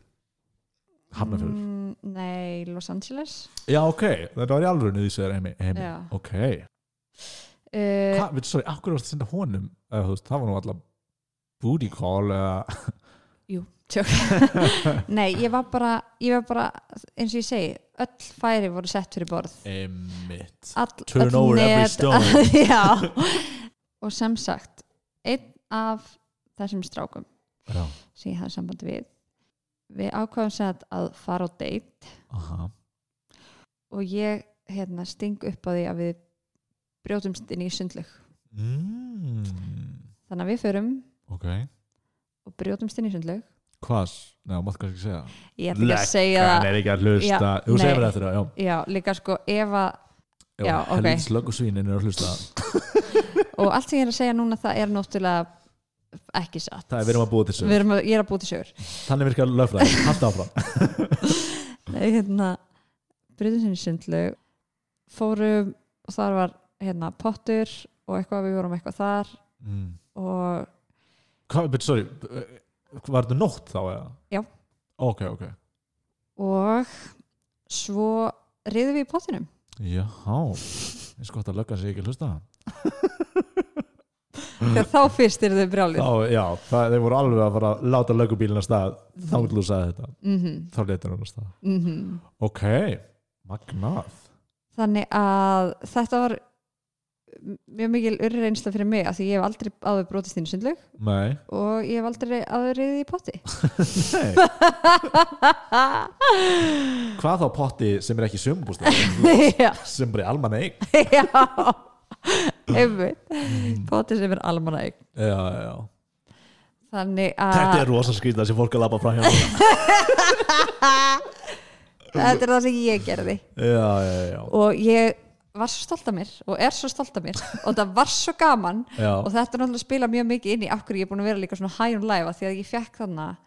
Speaker 1: Hafnarfjörður
Speaker 2: Mm, nei, Los Angeles.
Speaker 1: já ok, þetta var í alvörinu því sem er heimi, heimi.
Speaker 2: Já. Eh,
Speaker 1: ok,
Speaker 2: Uh,
Speaker 1: hvað, veitu, sorry, af hverju varst að senda honum eða, þú veist, það var nú alltaf booty call eða
Speaker 2: Jú. Tjók. Nei, ég var bara ég var bara, eins og ég segi öll færi voru sett fyrir borð
Speaker 1: Einmitt.
Speaker 2: all,
Speaker 1: Turn
Speaker 2: öll
Speaker 1: over every
Speaker 2: net-
Speaker 1: stone.
Speaker 2: Já Og sem sagt einn af þessum strákum
Speaker 1: Já.
Speaker 2: sem ég hafði sambandi við við ákvæðum sem sagt að fara á date
Speaker 1: Aha.
Speaker 2: og ég hérna sting upp á því að við brjótumst inn í sundlug
Speaker 1: Mm.
Speaker 2: þannig að við förum
Speaker 1: Ok.
Speaker 2: og brjótumst inn í sundlug
Speaker 1: Hvað? Nei, þú mátt kannski ekki segja.
Speaker 2: ég ætla ekki að segja
Speaker 1: Hann
Speaker 2: það
Speaker 1: er ekki að hlusta.
Speaker 2: Já,
Speaker 1: Þú segir
Speaker 2: nei.
Speaker 1: mér eftir það, já.
Speaker 2: Já, líka sko ef að
Speaker 1: Já,
Speaker 2: Já, ok.
Speaker 1: Helvítis löggusvínin er að hlusta.
Speaker 2: og allt sem ég er að segja núna það er náttúrulega ekki satt
Speaker 1: Það er, við erum að búa til
Speaker 2: Við
Speaker 1: sögur.
Speaker 2: erum að, ég er að búið til sögur
Speaker 1: Þannig virkar lögfræði. Halda áfram.
Speaker 2: Nei, hérna, breytum sinni sundlug fórum og þar var hérna pottur og eitthvað við vorum eitthvað þar
Speaker 1: Mm.
Speaker 2: og
Speaker 1: Hvað, but sorry, eh, var þetta nótt þá eða?
Speaker 2: Já.
Speaker 1: Ok, ok.
Speaker 2: og svo riðum við í pottinum
Speaker 1: Jáhá, eins gott að löggan sig ekki að hlusta.
Speaker 2: þegar þá fyrst eru þau brjálið
Speaker 1: Þá, já, það, þeir voru alveg að fara að láta löggubílinn að stað þá til þú sagði þetta.
Speaker 2: mhm,
Speaker 1: Þá letur hún að stað.
Speaker 2: mhm
Speaker 1: Ok, magnað.
Speaker 2: þannig að þetta var mjög mikil urreinsla fyrir mig af því ég hef aldrei áður brotist inn í sundlug
Speaker 1: Nei.
Speaker 2: og ég hef aldrei áður riðið í potti
Speaker 1: Nei. Hvað þá potti sem er ekki sömbústæð?
Speaker 2: já,
Speaker 1: sem bara almanna eig.
Speaker 2: já einmitt potti sem er almanna eign
Speaker 1: Já, já, já.
Speaker 2: þannig
Speaker 1: Þetta
Speaker 2: að
Speaker 1: er rosa skrýtna sem fólk er að labba hérna. fram hjá. núna.
Speaker 2: þetta er það sem ég gerði
Speaker 1: já, já, já.
Speaker 2: og ég var svo stolt af mér og er svo stolt af mér og það var svo gaman
Speaker 1: Já.
Speaker 2: og þetta er náttúrulega að spila mjög mikið inn í af hverju ég er búin að vera líka svona high on life af því að ég fekk þannig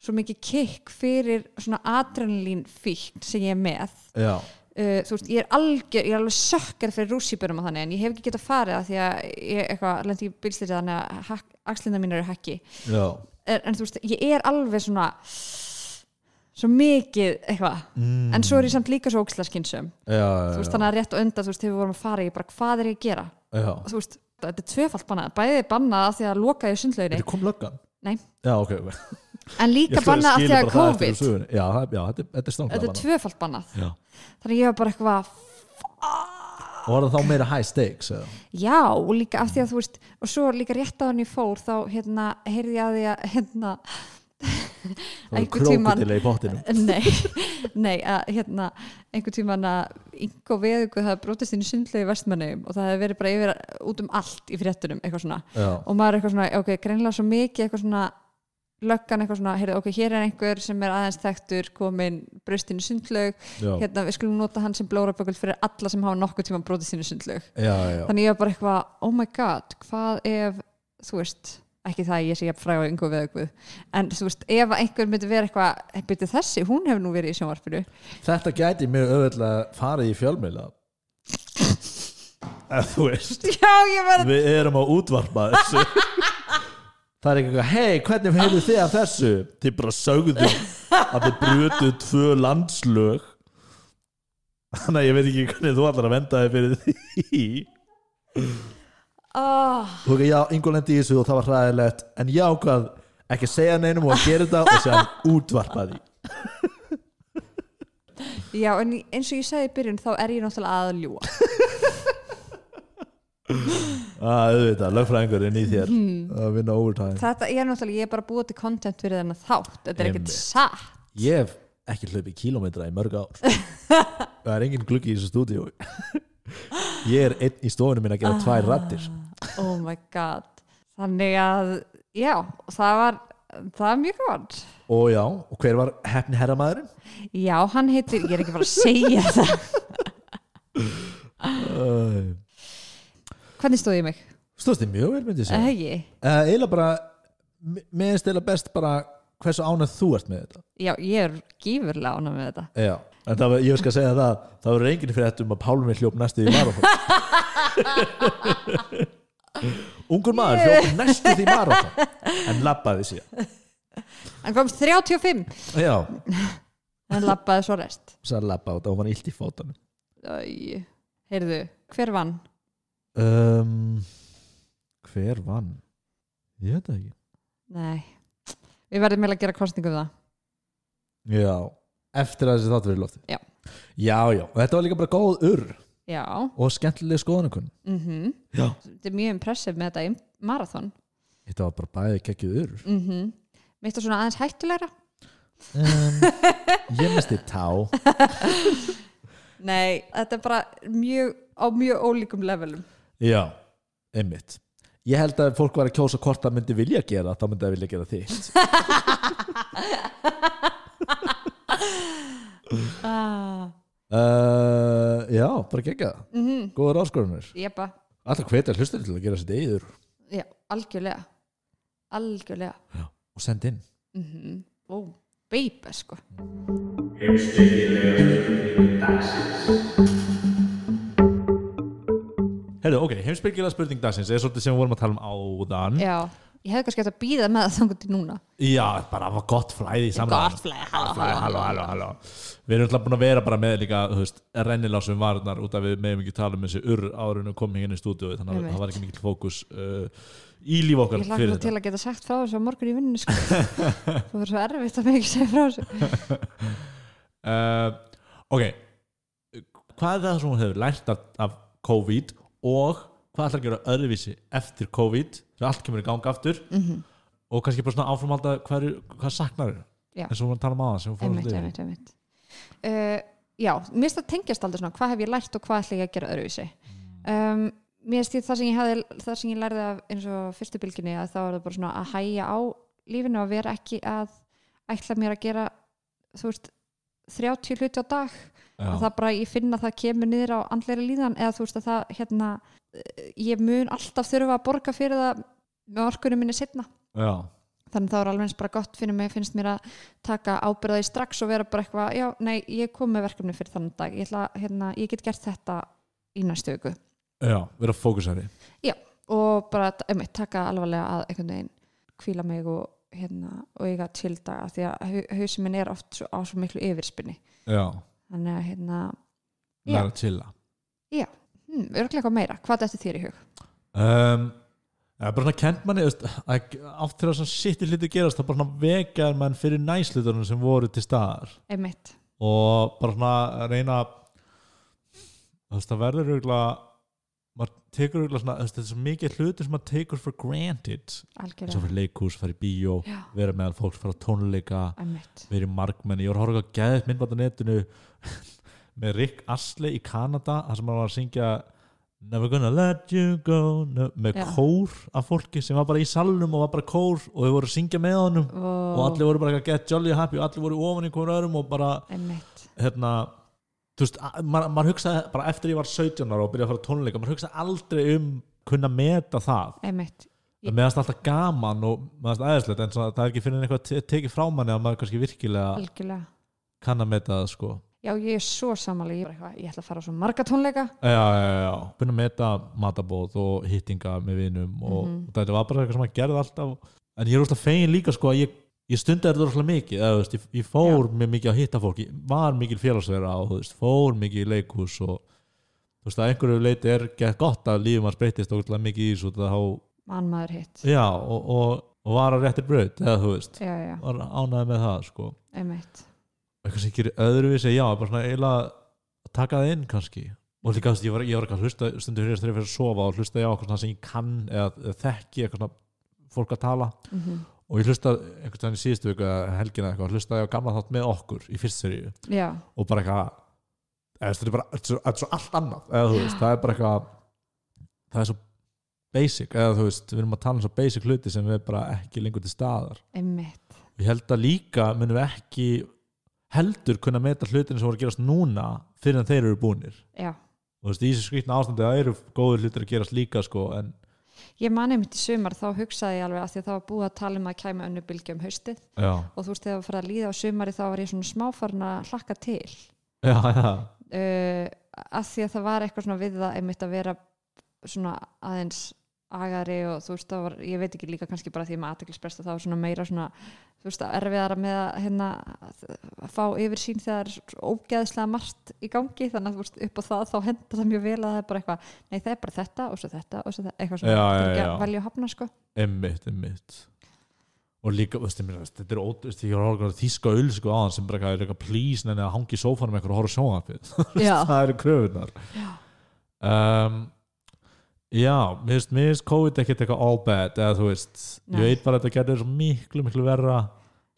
Speaker 2: svo mikið kick fyrir svona adrenalín fíkn sem ég er með
Speaker 1: Já,
Speaker 2: uh, þú veist, ég er algjör, ég er alveg sökkar fyrir rússýbjörnum og þannig, en ég hef ekki getað farið að því að ég eitthvað, lendi ekki bílstyrja þannig að hak, axlinna mín eru hakki
Speaker 1: já.
Speaker 2: en, en þú veist, ég er alveg svona svo mikið eitthvað,
Speaker 1: Mm.
Speaker 2: en svo er ég samt líka svo ógslaskinsum,
Speaker 1: Já, já,
Speaker 2: þú veist,
Speaker 1: já.
Speaker 2: þannig að rétt og undan þú veist, þegar við vorum að fara, ég bara, hvað er ég að gera
Speaker 1: já.
Speaker 2: og þú veist, þetta er tvöfalt bannað bæði bannað að því að loka í sundlauginni
Speaker 1: Þetta kom löggan?
Speaker 2: Nei.
Speaker 1: Já, ok, ok.
Speaker 2: en líka
Speaker 1: Ég skil-
Speaker 2: bannað að
Speaker 1: skil
Speaker 2: því
Speaker 1: bara það
Speaker 2: að
Speaker 1: eftir úr
Speaker 2: COVID
Speaker 1: sögunni. Já, það- já, þetta er- þetta er
Speaker 2: þetta
Speaker 1: stanglega
Speaker 2: er tvöfalt bannað
Speaker 1: Já.
Speaker 2: þannig að ég var bara eitthvað,
Speaker 1: Og var það þá meira high stakes eða?
Speaker 2: Já, og líka af því að þú veist og svo líka rétt á hann ég fór þá hérna, heyrði ég að því að hérna,
Speaker 1: Það var
Speaker 2: Einhvern tímann-
Speaker 1: krókutilega í pottinum
Speaker 2: nei, nei að, hérna, einhver tíman að Ingo Veðugu það brotist inn í sundlegu vestmannum og það hefði verið bara yfir út um allt í fréttunum, eitthvað svona
Speaker 1: Já,
Speaker 2: og maður er eitthvað svona, ok, greinlega svo mikið eitthvað svona löggan eitthvað svona, heyrði, ok, hér er einhver sem er aðeins þekktur komin braust inn í sundlög
Speaker 1: já,
Speaker 2: hérna, við skulum nota hann sem blórabökul fyrir alla sem hafa nokkuð tíma brotist inn í sundlög
Speaker 1: já, já,
Speaker 2: þannig ég var bara eitthvað, oh my god hvað ef, þú veist ekki það að ég sé jafn fræg á yngur við ykkur en þú veist, ef að einhver myndi vera eitthvað byrju þessi, hún hefur nú verið í sjónvarpinu
Speaker 1: Þetta gæti mjög auðvitað farið í fjölmiðla Ef Þú veist
Speaker 2: já, ég var
Speaker 1: Við erum að útvarpa þessu Það er ekki eitthvað, hei, hvernig heyrðu þið af þessu? Þið bara sögðu að þið brutu tvö landslög Þannig að ég veit ekki hvernig þú allar að venda þið fyrir því
Speaker 2: oh,
Speaker 1: Þú veist, já, Ingo lendi í þessu og það var hræðilegt en ég ákvað ekki að segja neinum og að gera þetta og sér útvarpa því
Speaker 2: já, en ég- eins og ég sagði í byrjun þá er ég náttúrulega að ljúa
Speaker 1: að Ah, auðvitað, lögfræðingurinn í þér að vinna overtime
Speaker 2: þetta er náttúrulega, ég er bara að búa til content fyrir þennan þátt, þetta er
Speaker 1: Einmitt.
Speaker 2: ekkert satt
Speaker 1: Ég hef ekki hlaupið kílómetra í mörg ár Það er engin gluggi í þessu stúdíu Ég er einn í stofunum minn að gera tvær rættir
Speaker 2: oh my god þannig að, já, það var það var mjög gott
Speaker 1: Og já, og hver var hefni herramæðurinn?
Speaker 2: já, hann heitir, ég er ekki bara að segja það
Speaker 1: Uh,
Speaker 2: hvernig stóð ég mig? Eh,
Speaker 1: Stóðst þið mjög vel myndi ég segja
Speaker 2: Ægi.
Speaker 1: uh, Eila bara, mér mér finnst eila best bara hversu ánægð þú ert með þetta
Speaker 2: Já, ég er gífurlega ánað með þetta.
Speaker 1: Já, en það var, ég skal segja það það verður enginn fyrir þetta um að Pálmi hljóp næstu í marathon Ungur maður hljóp næstu því marathon en labbaði síðan
Speaker 2: Hann kom 35
Speaker 1: Já,
Speaker 2: en lappaði svo rest.
Speaker 1: sagði labba á þetta og var illt í fótunum
Speaker 2: Æ, heyrðu, hver vann?
Speaker 1: Ehm, um, Hver vann? Ég veit það ekki
Speaker 2: Nei, Við verðum meðlega að gera kostningu um það
Speaker 1: já, eftir að þessi þáttu verið lofti
Speaker 2: Já.
Speaker 1: já, já, og þetta var líka bara góð urr
Speaker 2: Já,
Speaker 1: og skemmtileg skoðanakun
Speaker 2: mm
Speaker 1: já,
Speaker 2: þetta er mjög impressiv með þetta í marathon
Speaker 1: þetta var bara bæði kekkið urr
Speaker 2: mm -hmm. Mitt er svona aðeins hættulegra
Speaker 1: um, ég misti tá
Speaker 2: Nei, þetta er bara mjög, á mjög ólíkum levelum
Speaker 1: Já, einmitt Ég held að ef fólk var að kjósa hvort það myndi vilja gera þá myndi það vilja gera þitt
Speaker 2: ah.
Speaker 1: uh, Já, bara gegga
Speaker 2: mm
Speaker 1: Góður áskorunir
Speaker 2: Jepa,
Speaker 1: Alltaf hvetja hlustur til að gera sitt eigður
Speaker 2: já, algjörlega Algjörlega
Speaker 1: og send inn
Speaker 2: mm Ó, baby sko
Speaker 1: Herðu, ok, heimsbyrgilega spurning dagsins er svolítið sem við vorum að tala um áðan
Speaker 2: Já, ég hefði kannski hægt að býða með það þangur til núna
Speaker 1: Já, bara var gott flæði í samræðan
Speaker 2: Gott flæði, halló,
Speaker 1: Flæði,
Speaker 2: halló.
Speaker 1: halló, halló, halló Við erum alltaf búin að vera bara með líka þú veist, rennilásum varnar út af við meðum ekki tala um þessi urr árinu kom hérna í stúdíu þannig að
Speaker 2: Einmitt.
Speaker 1: það var ekki mikil fókus uh, í líf okkar
Speaker 2: Ég hlaka
Speaker 1: fyrir
Speaker 2: nú til að geta sagt frá þessu á morgun í vinninu sko Þú verður svo erfitt að mig ekki segja frá þessu
Speaker 1: uh, ok hvað er það sem hún hefur lært af, af COVID og hvað ætlar að gera öðruvísi eftir COVID sem allt kemur í ganga aftur
Speaker 2: Mhm.
Speaker 1: og kannski bara svona áframalda hvað, eru- hvað saknar
Speaker 2: Já.
Speaker 1: eins og hún var að tala um aðan sem hún fór
Speaker 2: einmitt, einmitt, einmitt. Uh, já, mér finnst það tengjast aldrei svona hvað hef ég lært og hvað ætla ég að gera öðruvísi um, mér finnst ég það sem ég, hafði, það sem ég lærði af eins og fyrstu bylginni að þá er það bara svona að hæja á lífinu og vera ekki að ætla mér að gera þú veist 30 hluti á dag að það bara ég finna að það kemur niður á andleira líðan eða þú veist að það hérna eh, ég mun alltaf þurfa að borga fyrir það með orkunum minni setna
Speaker 1: já,
Speaker 2: þannig þá er alveg eins bara gott fyrir mig finnst mér að taka ábyrðaði strax og vera bara eitthvað, já, nei, ég kom með verkefni fyrir þannig dag, ég, ætla, að, hérna, ég get gert þetta í næstu viku
Speaker 1: já, vera fókusari
Speaker 2: og bara, einmitt, taka alvarlega að einhvern veginn hvíla mig og hérna, og eiga til daga því að hausin minn er oft svo, á svo miklu yfirspinni
Speaker 1: já,
Speaker 2: þannig að, hérna, Já.
Speaker 1: læra að chilla
Speaker 2: hmm, örglega eitthvað meira, hvað þetta þér í hug?
Speaker 1: um, það er bara svona kent manni þú veist, að átt þegar svona sittir hluti gerast þá bara svona vekjar mann fyrir næslutunum sem voru til staðar
Speaker 2: Einmitt,
Speaker 1: og bara svona að reyna þú veist það verður auðvitað maður tekur auðvitað svona þú veist, þetta er svo mikið hluti sem maður tekur for granted eins og
Speaker 2: algjörlega
Speaker 1: fyrir leikhús, fara í bíó
Speaker 2: Já,
Speaker 1: vera meðal fólks, fara á tónleika
Speaker 2: einmitt,
Speaker 1: vera í markmenni, ég var að horfa ekki að geða myndband á netinu með Rick Astley í Kanada, þar sem hann var að syngja Never gonna let you go no, með
Speaker 2: Já.
Speaker 1: kór af fólki sem var bara í salnum og var bara kór og þau voru að syngja með honum og allir voru bara að get jolly happy og allir voru ofan í hverjum öðrum og bara
Speaker 2: einmitt
Speaker 1: hérna þú veist, að- maður maður hugsaði bara eftir ég var 17 ára og byrjaði að fara á tónleika, maður hugsaði aldrei um kunna meta það
Speaker 2: einmitt,
Speaker 1: það meðast alltaf gaman og meðast aðeinslegt en svona, það er ekki fyrir eitthvað te- tekið frá manni að maður kannski virkilega
Speaker 2: algjörlega
Speaker 1: kann að meta það sko
Speaker 2: Já, ég er svo samanlega, ég, er bara eitthvað, ég ætla að fara á svo marga tónleika
Speaker 1: já, já, já, já, kunna meta matabóð og hittinga með vinum og,
Speaker 2: Mhm.
Speaker 1: og þetta var bara eitthvað sem maður gerði alltaf en ég er úrslag fegin líka sko að ég, ég stundi þetta úrslag mikið, eða, þú veist, ég, ég fór mjög mikið að hitta fólk, ég var mikil félagsverða og þú veist, fór mikið í leikhús og þú veist að einhverju leiti er gett gott að lífum að breytist ótrúlega mikið í þessu þá,
Speaker 2: mann maður hitt
Speaker 1: já, og, og, og var að réttir braut, eða þú veist
Speaker 2: já, já,
Speaker 1: var ánæði með það sko
Speaker 2: einmitt
Speaker 1: eitthvað sem gerir öðruvísi, já, bara svona eiginlega að taka það inn kannski og líka, þú veist, ég var, ég var eitthvað að hlusta stundu fyrir þegar ég fyrir að sofa og hlusta ég á eitthvað svona sem ég kann eða, eða þekki eitthvað svona fólk að tala
Speaker 2: mm
Speaker 1: og ég hlusta einhvern veginn í síðustu viku eða helgina eitthvað, hlusta ég á gamla þátt með okkur í fyrst seríu
Speaker 2: já,
Speaker 1: og bara eitthvað eða, þetta er bara, þetta er svo- þetta er svo allt annað eða, þú veist, það er bara eitthvað það er svo basic, eða þú veist, við erum að tala um svo basic hluti sem er bara ekki lengur til staðar
Speaker 2: einmitt
Speaker 1: og ég held að líka munum við ekki heldur kunna meta hlutinu sem voru að gerast núna fyrir en þeir eru búnir
Speaker 2: já.
Speaker 1: og þú veist, í þessu skrýtna ástandi það eru góðir hlutir að gerast líka sko en
Speaker 2: ég man einmitt í sumar þá hugsaði ég alveg að því að það var búið að tala um að kæma önnu bylgja um haustið
Speaker 1: já,
Speaker 2: og þú veist þegar að fara að líða á sumari þá var ég svona smáfarn að hlakka til
Speaker 1: já, já,
Speaker 2: uh, að því að það var eitthvað svona við það einmitt að vera svona aðeins agari og þú veist það var, ég veit ekki líka kannski bara því að maður aðteklisbresta það var svona meira svona þú veist að erfiðara með að hérna að fá yfirsýn þegar það er ógeðslega margt í gangi þannig að þú veist upp á það þá henda það mjög vel að það er bara eitthvað nei það er bara þetta og svo þetta og svo þetta eitthvað svona
Speaker 1: Já,
Speaker 2: Það er
Speaker 1: já,
Speaker 2: ekki
Speaker 1: já.
Speaker 2: að velja og hafna sko
Speaker 1: emmitt, emmitt og líka, þú veist, ég meina, þetta er ótrúst ég var að horfa á þíska ölsku á hann sem bara eitthvað, eitthvað please, neina, að hangi í sófanum eitthvað og horfa sjónvarpið,
Speaker 2: já,
Speaker 1: það eru kröfunar um, já, mér veist, mér veist COVID ekkert eitthvað all bad, eða þú veist ég
Speaker 2: Nei.
Speaker 1: veit bara að þetta getur svo miklu, miklu verra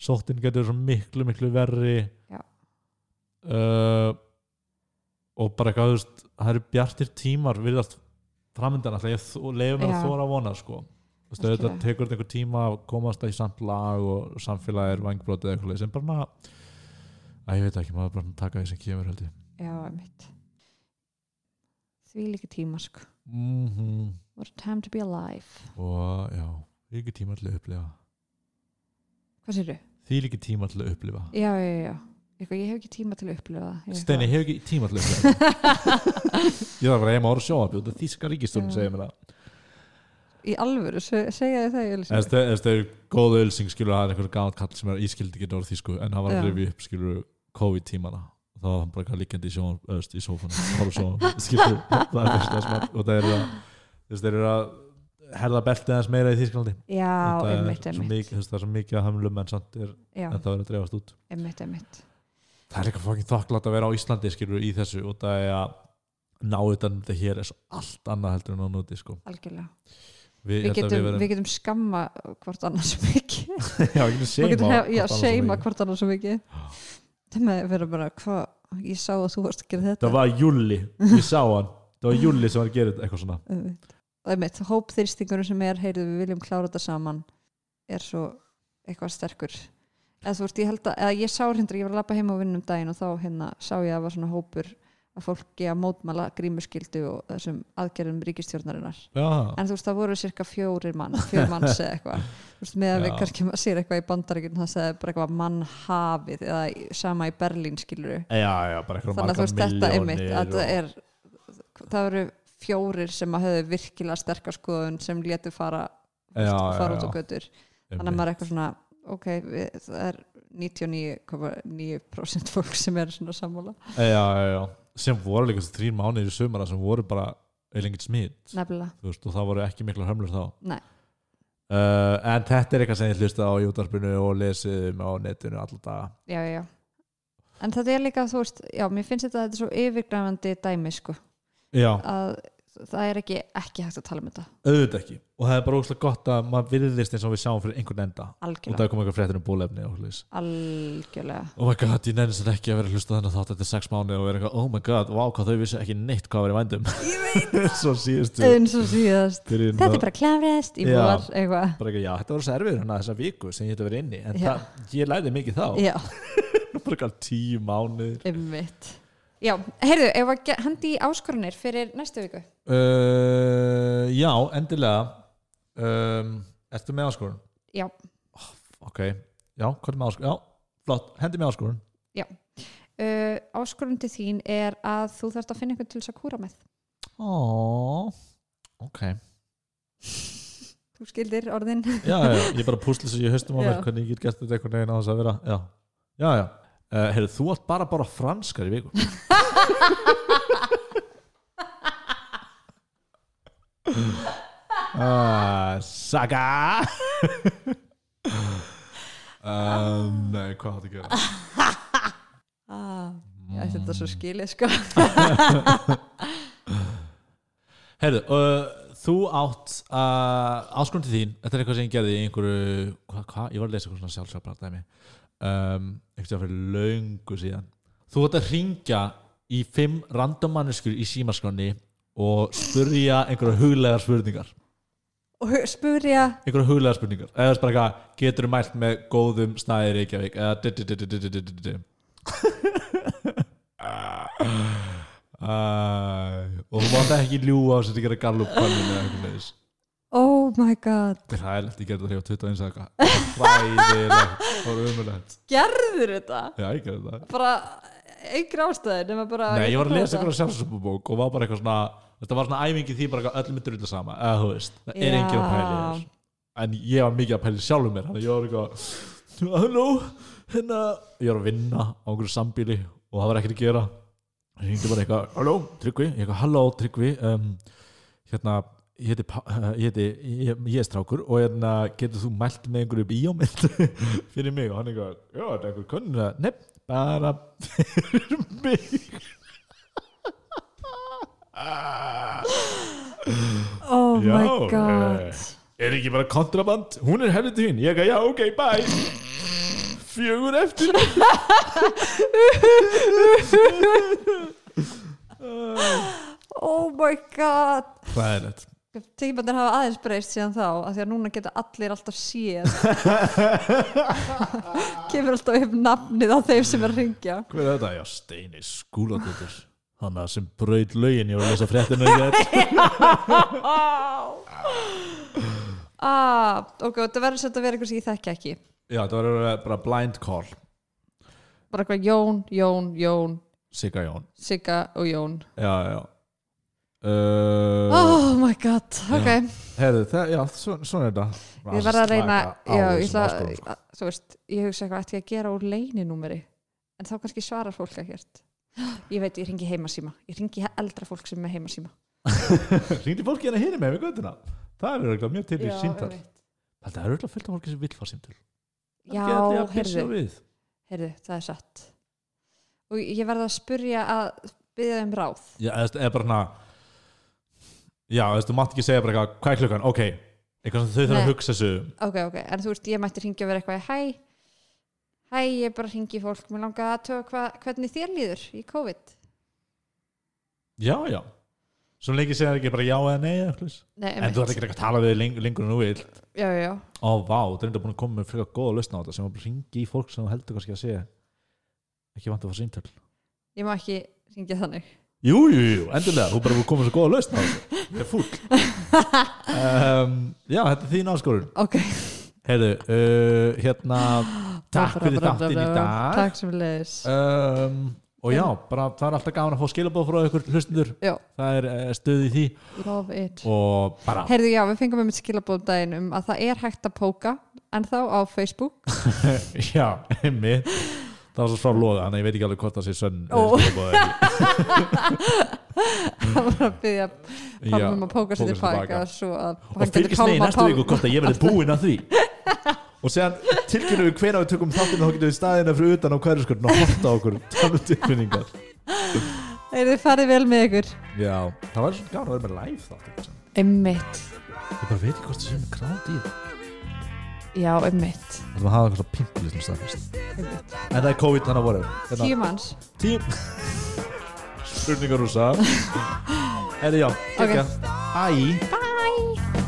Speaker 1: sóttin getur svo miklu, miklu verri
Speaker 2: Já.
Speaker 1: uh, og bara eitthvað, þú veist, það eru bjartir tímar virðast framöndan alltaf, ég leifum mér
Speaker 2: Já.
Speaker 1: að þóra að vona, sko Þú veist, auðvitað
Speaker 2: Algjörlega.
Speaker 1: tekur þetta einhver tíma að komast í samt lag og samfélagið er vangbrótið eða eitthvað leið sem bara maður að ég veit ekki, maður bara taka því sem kemur held ég
Speaker 2: já, mitt því líka tíma sko
Speaker 1: mm
Speaker 2: what a time to be alive
Speaker 1: og já, því ekki tíma til að upplifa
Speaker 2: hvað sérðu?
Speaker 1: því ekki tíma til að upplifa
Speaker 2: já, já, já, já. Eitthvað, ég hef ekki tíma til að upplifa það Ég er
Speaker 1: Steini, ég
Speaker 2: eitthvað-
Speaker 1: hef ekki tíma til að upplifa þetta. ég þarf að vera heima og horfa á sjónvarpið út af þíska ríkistórn
Speaker 2: Já.
Speaker 1: segir mér það
Speaker 2: í alvöru, se- segja þið það ég
Speaker 1: Ef þetta- ef þetta er góð ölsing skilur það er einhver gamall kall sem er ískildi ekki orð þýsku en hann var að
Speaker 2: Já.
Speaker 1: rifja upp skilur COVID tímana þá var hann bara eitthvað liggjandi í, sjón, öst, í sófanum horf sófanum skilur það er fyrst að smart og það er að þess þeir eru að herða beltið aðeins meira í Þýskalandi
Speaker 2: já,
Speaker 1: Þetta er
Speaker 2: einmitt,
Speaker 1: svo mikið,
Speaker 2: einmitt
Speaker 1: þú veist, það er svo mikið að hömlum en samt er
Speaker 2: já,
Speaker 1: en það er að dreifast út
Speaker 2: einmitt, einmitt
Speaker 1: það er eitthvað fokkin þakklátt að vera á Íslandi skilur í þessu og það er að ná utan um þetta hér er svo allt annað heldur en á núti sko.
Speaker 2: algjörlega
Speaker 1: við,
Speaker 2: við
Speaker 1: ég held að
Speaker 2: getum,
Speaker 1: við
Speaker 2: við getum skamma hvort annars svo mikið
Speaker 1: verum- já, við getum
Speaker 2: Við getum
Speaker 1: seima
Speaker 2: hef- já,
Speaker 1: hvort annað svo mikið.
Speaker 2: seima hvort annars svo mikið það með að vera bara hvað ég sá að þú varst að gera þetta
Speaker 1: það var Júli, ég sá hann það var Júli sem var að gera þetta, eitthvað svona
Speaker 2: það er mitt, hópþyrstingur sem er heyrðu við viljum klára þetta saman er svo eitthvað sterkur eða þú veist, ég held að, eða ég sá hérna ég var að lappa heim á vinnum daginn og þá hérna sá ég að það var svona hópur að fólki að mótmæla grímuskyldu og þessum aðgerðum ríkistjórnarinnar
Speaker 1: já,
Speaker 2: en þú veist, það voru cirka fjórir mann fjór manns eða eitthvað þú veist, með að við
Speaker 1: Já.
Speaker 2: kannski maður sér eitthvað í bandaríkjum það segði bara eitthvað mannhafið eða í- sama í Berlín skiluru
Speaker 1: já, já, bara eitthvað
Speaker 2: þannig að
Speaker 1: margar
Speaker 2: þú veist þetta er mitt
Speaker 1: milljónir
Speaker 2: að
Speaker 1: og-
Speaker 2: það er það eru fjórir sem að höfðu virkilega sterka skoðun sem létu fara,
Speaker 1: Já,
Speaker 2: já,
Speaker 1: já,
Speaker 2: fara út á
Speaker 1: já.
Speaker 2: götur þannig að
Speaker 1: Einmitt.
Speaker 2: maður er eitthvað svona ok, við, það er 99,9% fólk sem er svona sammála
Speaker 1: já, já, já, sem voru líka þessi þrín mánuðir í sumara sem voru bara eilengið smitt
Speaker 2: nefnilega,
Speaker 1: þú veist, og það voru ekki mikla hömlur þá
Speaker 2: Nei.
Speaker 1: Uh, en þetta er eitthvað sem ég hlusta á júdarpinu og lesið um á netinu alla daga
Speaker 2: já, já, já en þetta er líka, þú veist, já, mér finnst þetta þetta er svo yfirgræfandi dæmi, sko
Speaker 1: já,
Speaker 2: að það er ekki, ekki hægt að tala um þetta
Speaker 1: auðvitað ekki og það er bara óslega gott að maður virðist eins og við sjáum fyrir einhvern enda og það
Speaker 2: algjörlega,
Speaker 1: er komið eitthvað fréttir um bólefni og hlutis
Speaker 2: algjörlega
Speaker 1: oh my god, ég nefnir sem ekki að vera að hlusta þannig þátt eftir sex mánuði og vera eitthvað, oh my god, wow, hvað þau vissi ekki neitt hvað var í vændum
Speaker 2: ég veit,
Speaker 1: svo síðustu
Speaker 2: eins og síðast
Speaker 1: byrjun
Speaker 2: þetta
Speaker 1: var-
Speaker 2: er bara klárast í
Speaker 1: Já.
Speaker 2: vor, eitthvað
Speaker 1: bara ekki, já, þetta var svo erfið hérna þessa viku sem ég hefði verið inni, en
Speaker 2: Já.
Speaker 1: það, ég læði mikið þá
Speaker 2: já,
Speaker 1: bara eitthvað tíu mánuðir
Speaker 2: Ummitt. Já, heyrðu, ef að ge- hendi í áskorunir fyrir næstu viku.
Speaker 1: uh, já, endilega um, ertu með áskorun?
Speaker 2: Já.
Speaker 1: ok, já, hvað er með áskorun? já, flott, hendi með áskorun
Speaker 2: Uh, áskorun til þín er að þú þarft að finna einhvern til þess að kúra með.
Speaker 1: oh, ok,
Speaker 2: Þú skildir orðin.
Speaker 1: já, já, ég bara púsli sem ég höstum á mér
Speaker 2: Já.
Speaker 1: hvernig ég get gert þetta einhvern veginn á þess að vera já, já, já uh, heyrðu, þú átt bara bara franskar í viku uh, Saga um, Nei, hvað átt að gera?
Speaker 2: Ah, ég ætti þetta svo skilið, sko.
Speaker 1: Heyrðu, uh, þú átt uh, áskonum til þín, þetta er eitthvað sem ég gerði í einhverju, hvað, hva? ég var að lesa eitthvað svona sjálfsjálfbært dæmi um, eitthvað fyrir löngu síðan þú átt að ringja í fimm random manneskur í símaskráni og spurja einhverja huglegar spurningar
Speaker 2: Og spurja,
Speaker 1: einhverja huglegar spurningar, eða þess bara eitthvað getur mælt með góðum staði í Reykjavík eða di- di- di- di- di- di- di- di- di. Æ, og þú mátt ekki ljúga á þess að þetta gera gallup eða eitthvað leðis
Speaker 2: oh my god,
Speaker 1: Þetta er hræðilegt, ég gerði það þegar ég var 21 saka Hræðilegt, það var umulegt
Speaker 2: gerður þetta?
Speaker 1: Já, ég gerði það
Speaker 2: Bara einhver ástæði, nema bara...
Speaker 1: Nei, ég var að lesa
Speaker 2: þetta.
Speaker 1: eitthvað sjálfsöpubók og var bara eitthvað svona Þetta var svona æfingi því bara eitthvað öll myndir út að sama eða þú veist, það er
Speaker 2: Já.
Speaker 1: engin að pæli þér En ég var mikið að pæli sjálfum mér Þannig að ég var eitthvað Halló, hérna Ég var að vinna á einhverju sambíli og það var ekkert að gera Það hringdi bara eitthvað Halló, Tryggvi, ég eitthvað Halló, Tryggvi um, Hérna, ég heiti, Pá- ég, heiti ég, ég er strákur og hérna getur þú mælt með einhverju bíómynd fyrir mig og hann eitthvað, já, þetta er einhver kunn nefn, bara fyrir mig Ah.
Speaker 2: oh my
Speaker 1: Já,
Speaker 2: god
Speaker 1: eh, er ekki bara kontraband, hún er helviti hinn ég eitthvað, já, ok, bye fjögur eftir
Speaker 2: oh my god
Speaker 1: hræðilegt
Speaker 2: Tíkiböndir hafa aðeins breyst síðan þá af því að núna geta allir alltaf séð kemur alltaf upp nafnið á þeim sem er að ringja
Speaker 1: Hver er þetta? Já, Steini Skúladóttir Hanna sem braut lögin ég var að lesa fréttinu í þetta
Speaker 2: ah, ok, þetta verður svolítið að vera eitthvað sem ég þekki ekki
Speaker 1: Já, það var bara blind call
Speaker 2: bara eitthvað Jón, Jón, Jón
Speaker 1: Sigga Jón
Speaker 2: Sigga og Jón
Speaker 1: Já, já uh,
Speaker 2: oh my god, ok
Speaker 1: Herðu, það, já, svona, svona er þetta
Speaker 2: ég verð að reyna
Speaker 1: Slaka á
Speaker 2: já, ég,
Speaker 1: þessum
Speaker 2: ætla,
Speaker 1: áskorunum, sko.
Speaker 2: að, þú veist, ég hugsa eitthvað ætti ég að gera úr leyninúmeri en þá kannski svarar fólk ekkert ég veit, ég ringi heimasíma ég ringi eldra fólk sem er með heimasíma
Speaker 1: Hringdi fólki hérna hinni með við göttuna Það er auðvitað mjög til í
Speaker 2: Já,
Speaker 1: síntal
Speaker 2: einmitt.
Speaker 1: Það er auðvitað fullt af fólki sem vill fá síntal
Speaker 2: já, heyrðu
Speaker 1: heyrðu
Speaker 2: Heyrðu, það er satt. Og ég verða að spurja að byggja um ráð.
Speaker 1: Já, eða bara hana Já, þú veist, þú mátt ekki segja bara eitthvað Hvað er klukkan? Ok, eitthvað sem þau þurfa
Speaker 2: Nei.
Speaker 1: að hugsa þessu
Speaker 2: Ok, ok, en þú veist, ég mætti hringja og vera eitthvað, hæ, hæ, ég bara hringi í fólk, mér langar að tóa hva, hvernig þér líður í COVID.
Speaker 1: Já, já Svo lengi segir það ekki bara já eða nei eða eitthvað svoleiðis.
Speaker 2: Nei,
Speaker 1: En þú ert ekki að tala við leng, lengur en þú vil
Speaker 2: Já, já, já.
Speaker 1: Ó, vá, það er enda búin að koma með frekar góða lausna á þetta sem að bara ringi í fólk sem þú heldur kannski að segja ekki vant að fá síntöl
Speaker 2: Ég má ekki hringja þannig.
Speaker 1: Jú, jú, jú, endurlega, þú bara búin að koma með svo góða lausna á þetta Ég er fúll um, Já, þetta er þín áskorun
Speaker 2: Ok.
Speaker 1: Heyrðu, uh, hérna Takk fyrir þáttinn í dag.
Speaker 2: Takk sem leiðis.
Speaker 1: um, Og já, bara það er alltaf gaman að fá skilabóð frá ykkur hlustundur
Speaker 2: Já,
Speaker 1: Það er uh, stöð í því
Speaker 2: love it.
Speaker 1: og bara
Speaker 2: Heyrðu, já, við fengum einmitt skilabóðum daginn um að það er hægt að póka, en þá á Facebook.
Speaker 1: Já, einmitt Það var svo frá loða, þannig að ég veit ekki alveg hvort það sé sönn
Speaker 2: Ó.
Speaker 1: eða skilaboð eða ekki.
Speaker 2: Það var að byggja
Speaker 1: Já,
Speaker 2: Pálmum að póka
Speaker 1: póka
Speaker 2: sér
Speaker 1: sér
Speaker 2: tilbaka
Speaker 1: tilbaka.
Speaker 2: svo að hann
Speaker 1: Og
Speaker 2: getur
Speaker 1: fylgist með í
Speaker 2: pálmað
Speaker 1: næstu
Speaker 2: Pál-
Speaker 1: viku hvort að ég verði búinn að því Og séðan tilkynum við hvena við tökum þáttinn og þá getum við staðina fyrir utan á hverju skurn og horta á okkur, tala um tilfinningar
Speaker 2: Þeir farið vel með ykkur
Speaker 1: Já, það var svona gaman að vera með live þáttinn sem.
Speaker 2: Einmitt
Speaker 1: Ég bara veit ekki hvort það sé með krátt í það
Speaker 2: Já, einmitt,
Speaker 1: Það var að hafa eitthvað svona pimpli sem staðfist
Speaker 2: einmitt.
Speaker 1: En það er COVID þannig að Hérna, voru
Speaker 2: Tíu manns
Speaker 1: Tím Spurningar úr sá Herri já,
Speaker 2: Ok.
Speaker 1: gekkja Æ
Speaker 2: Bye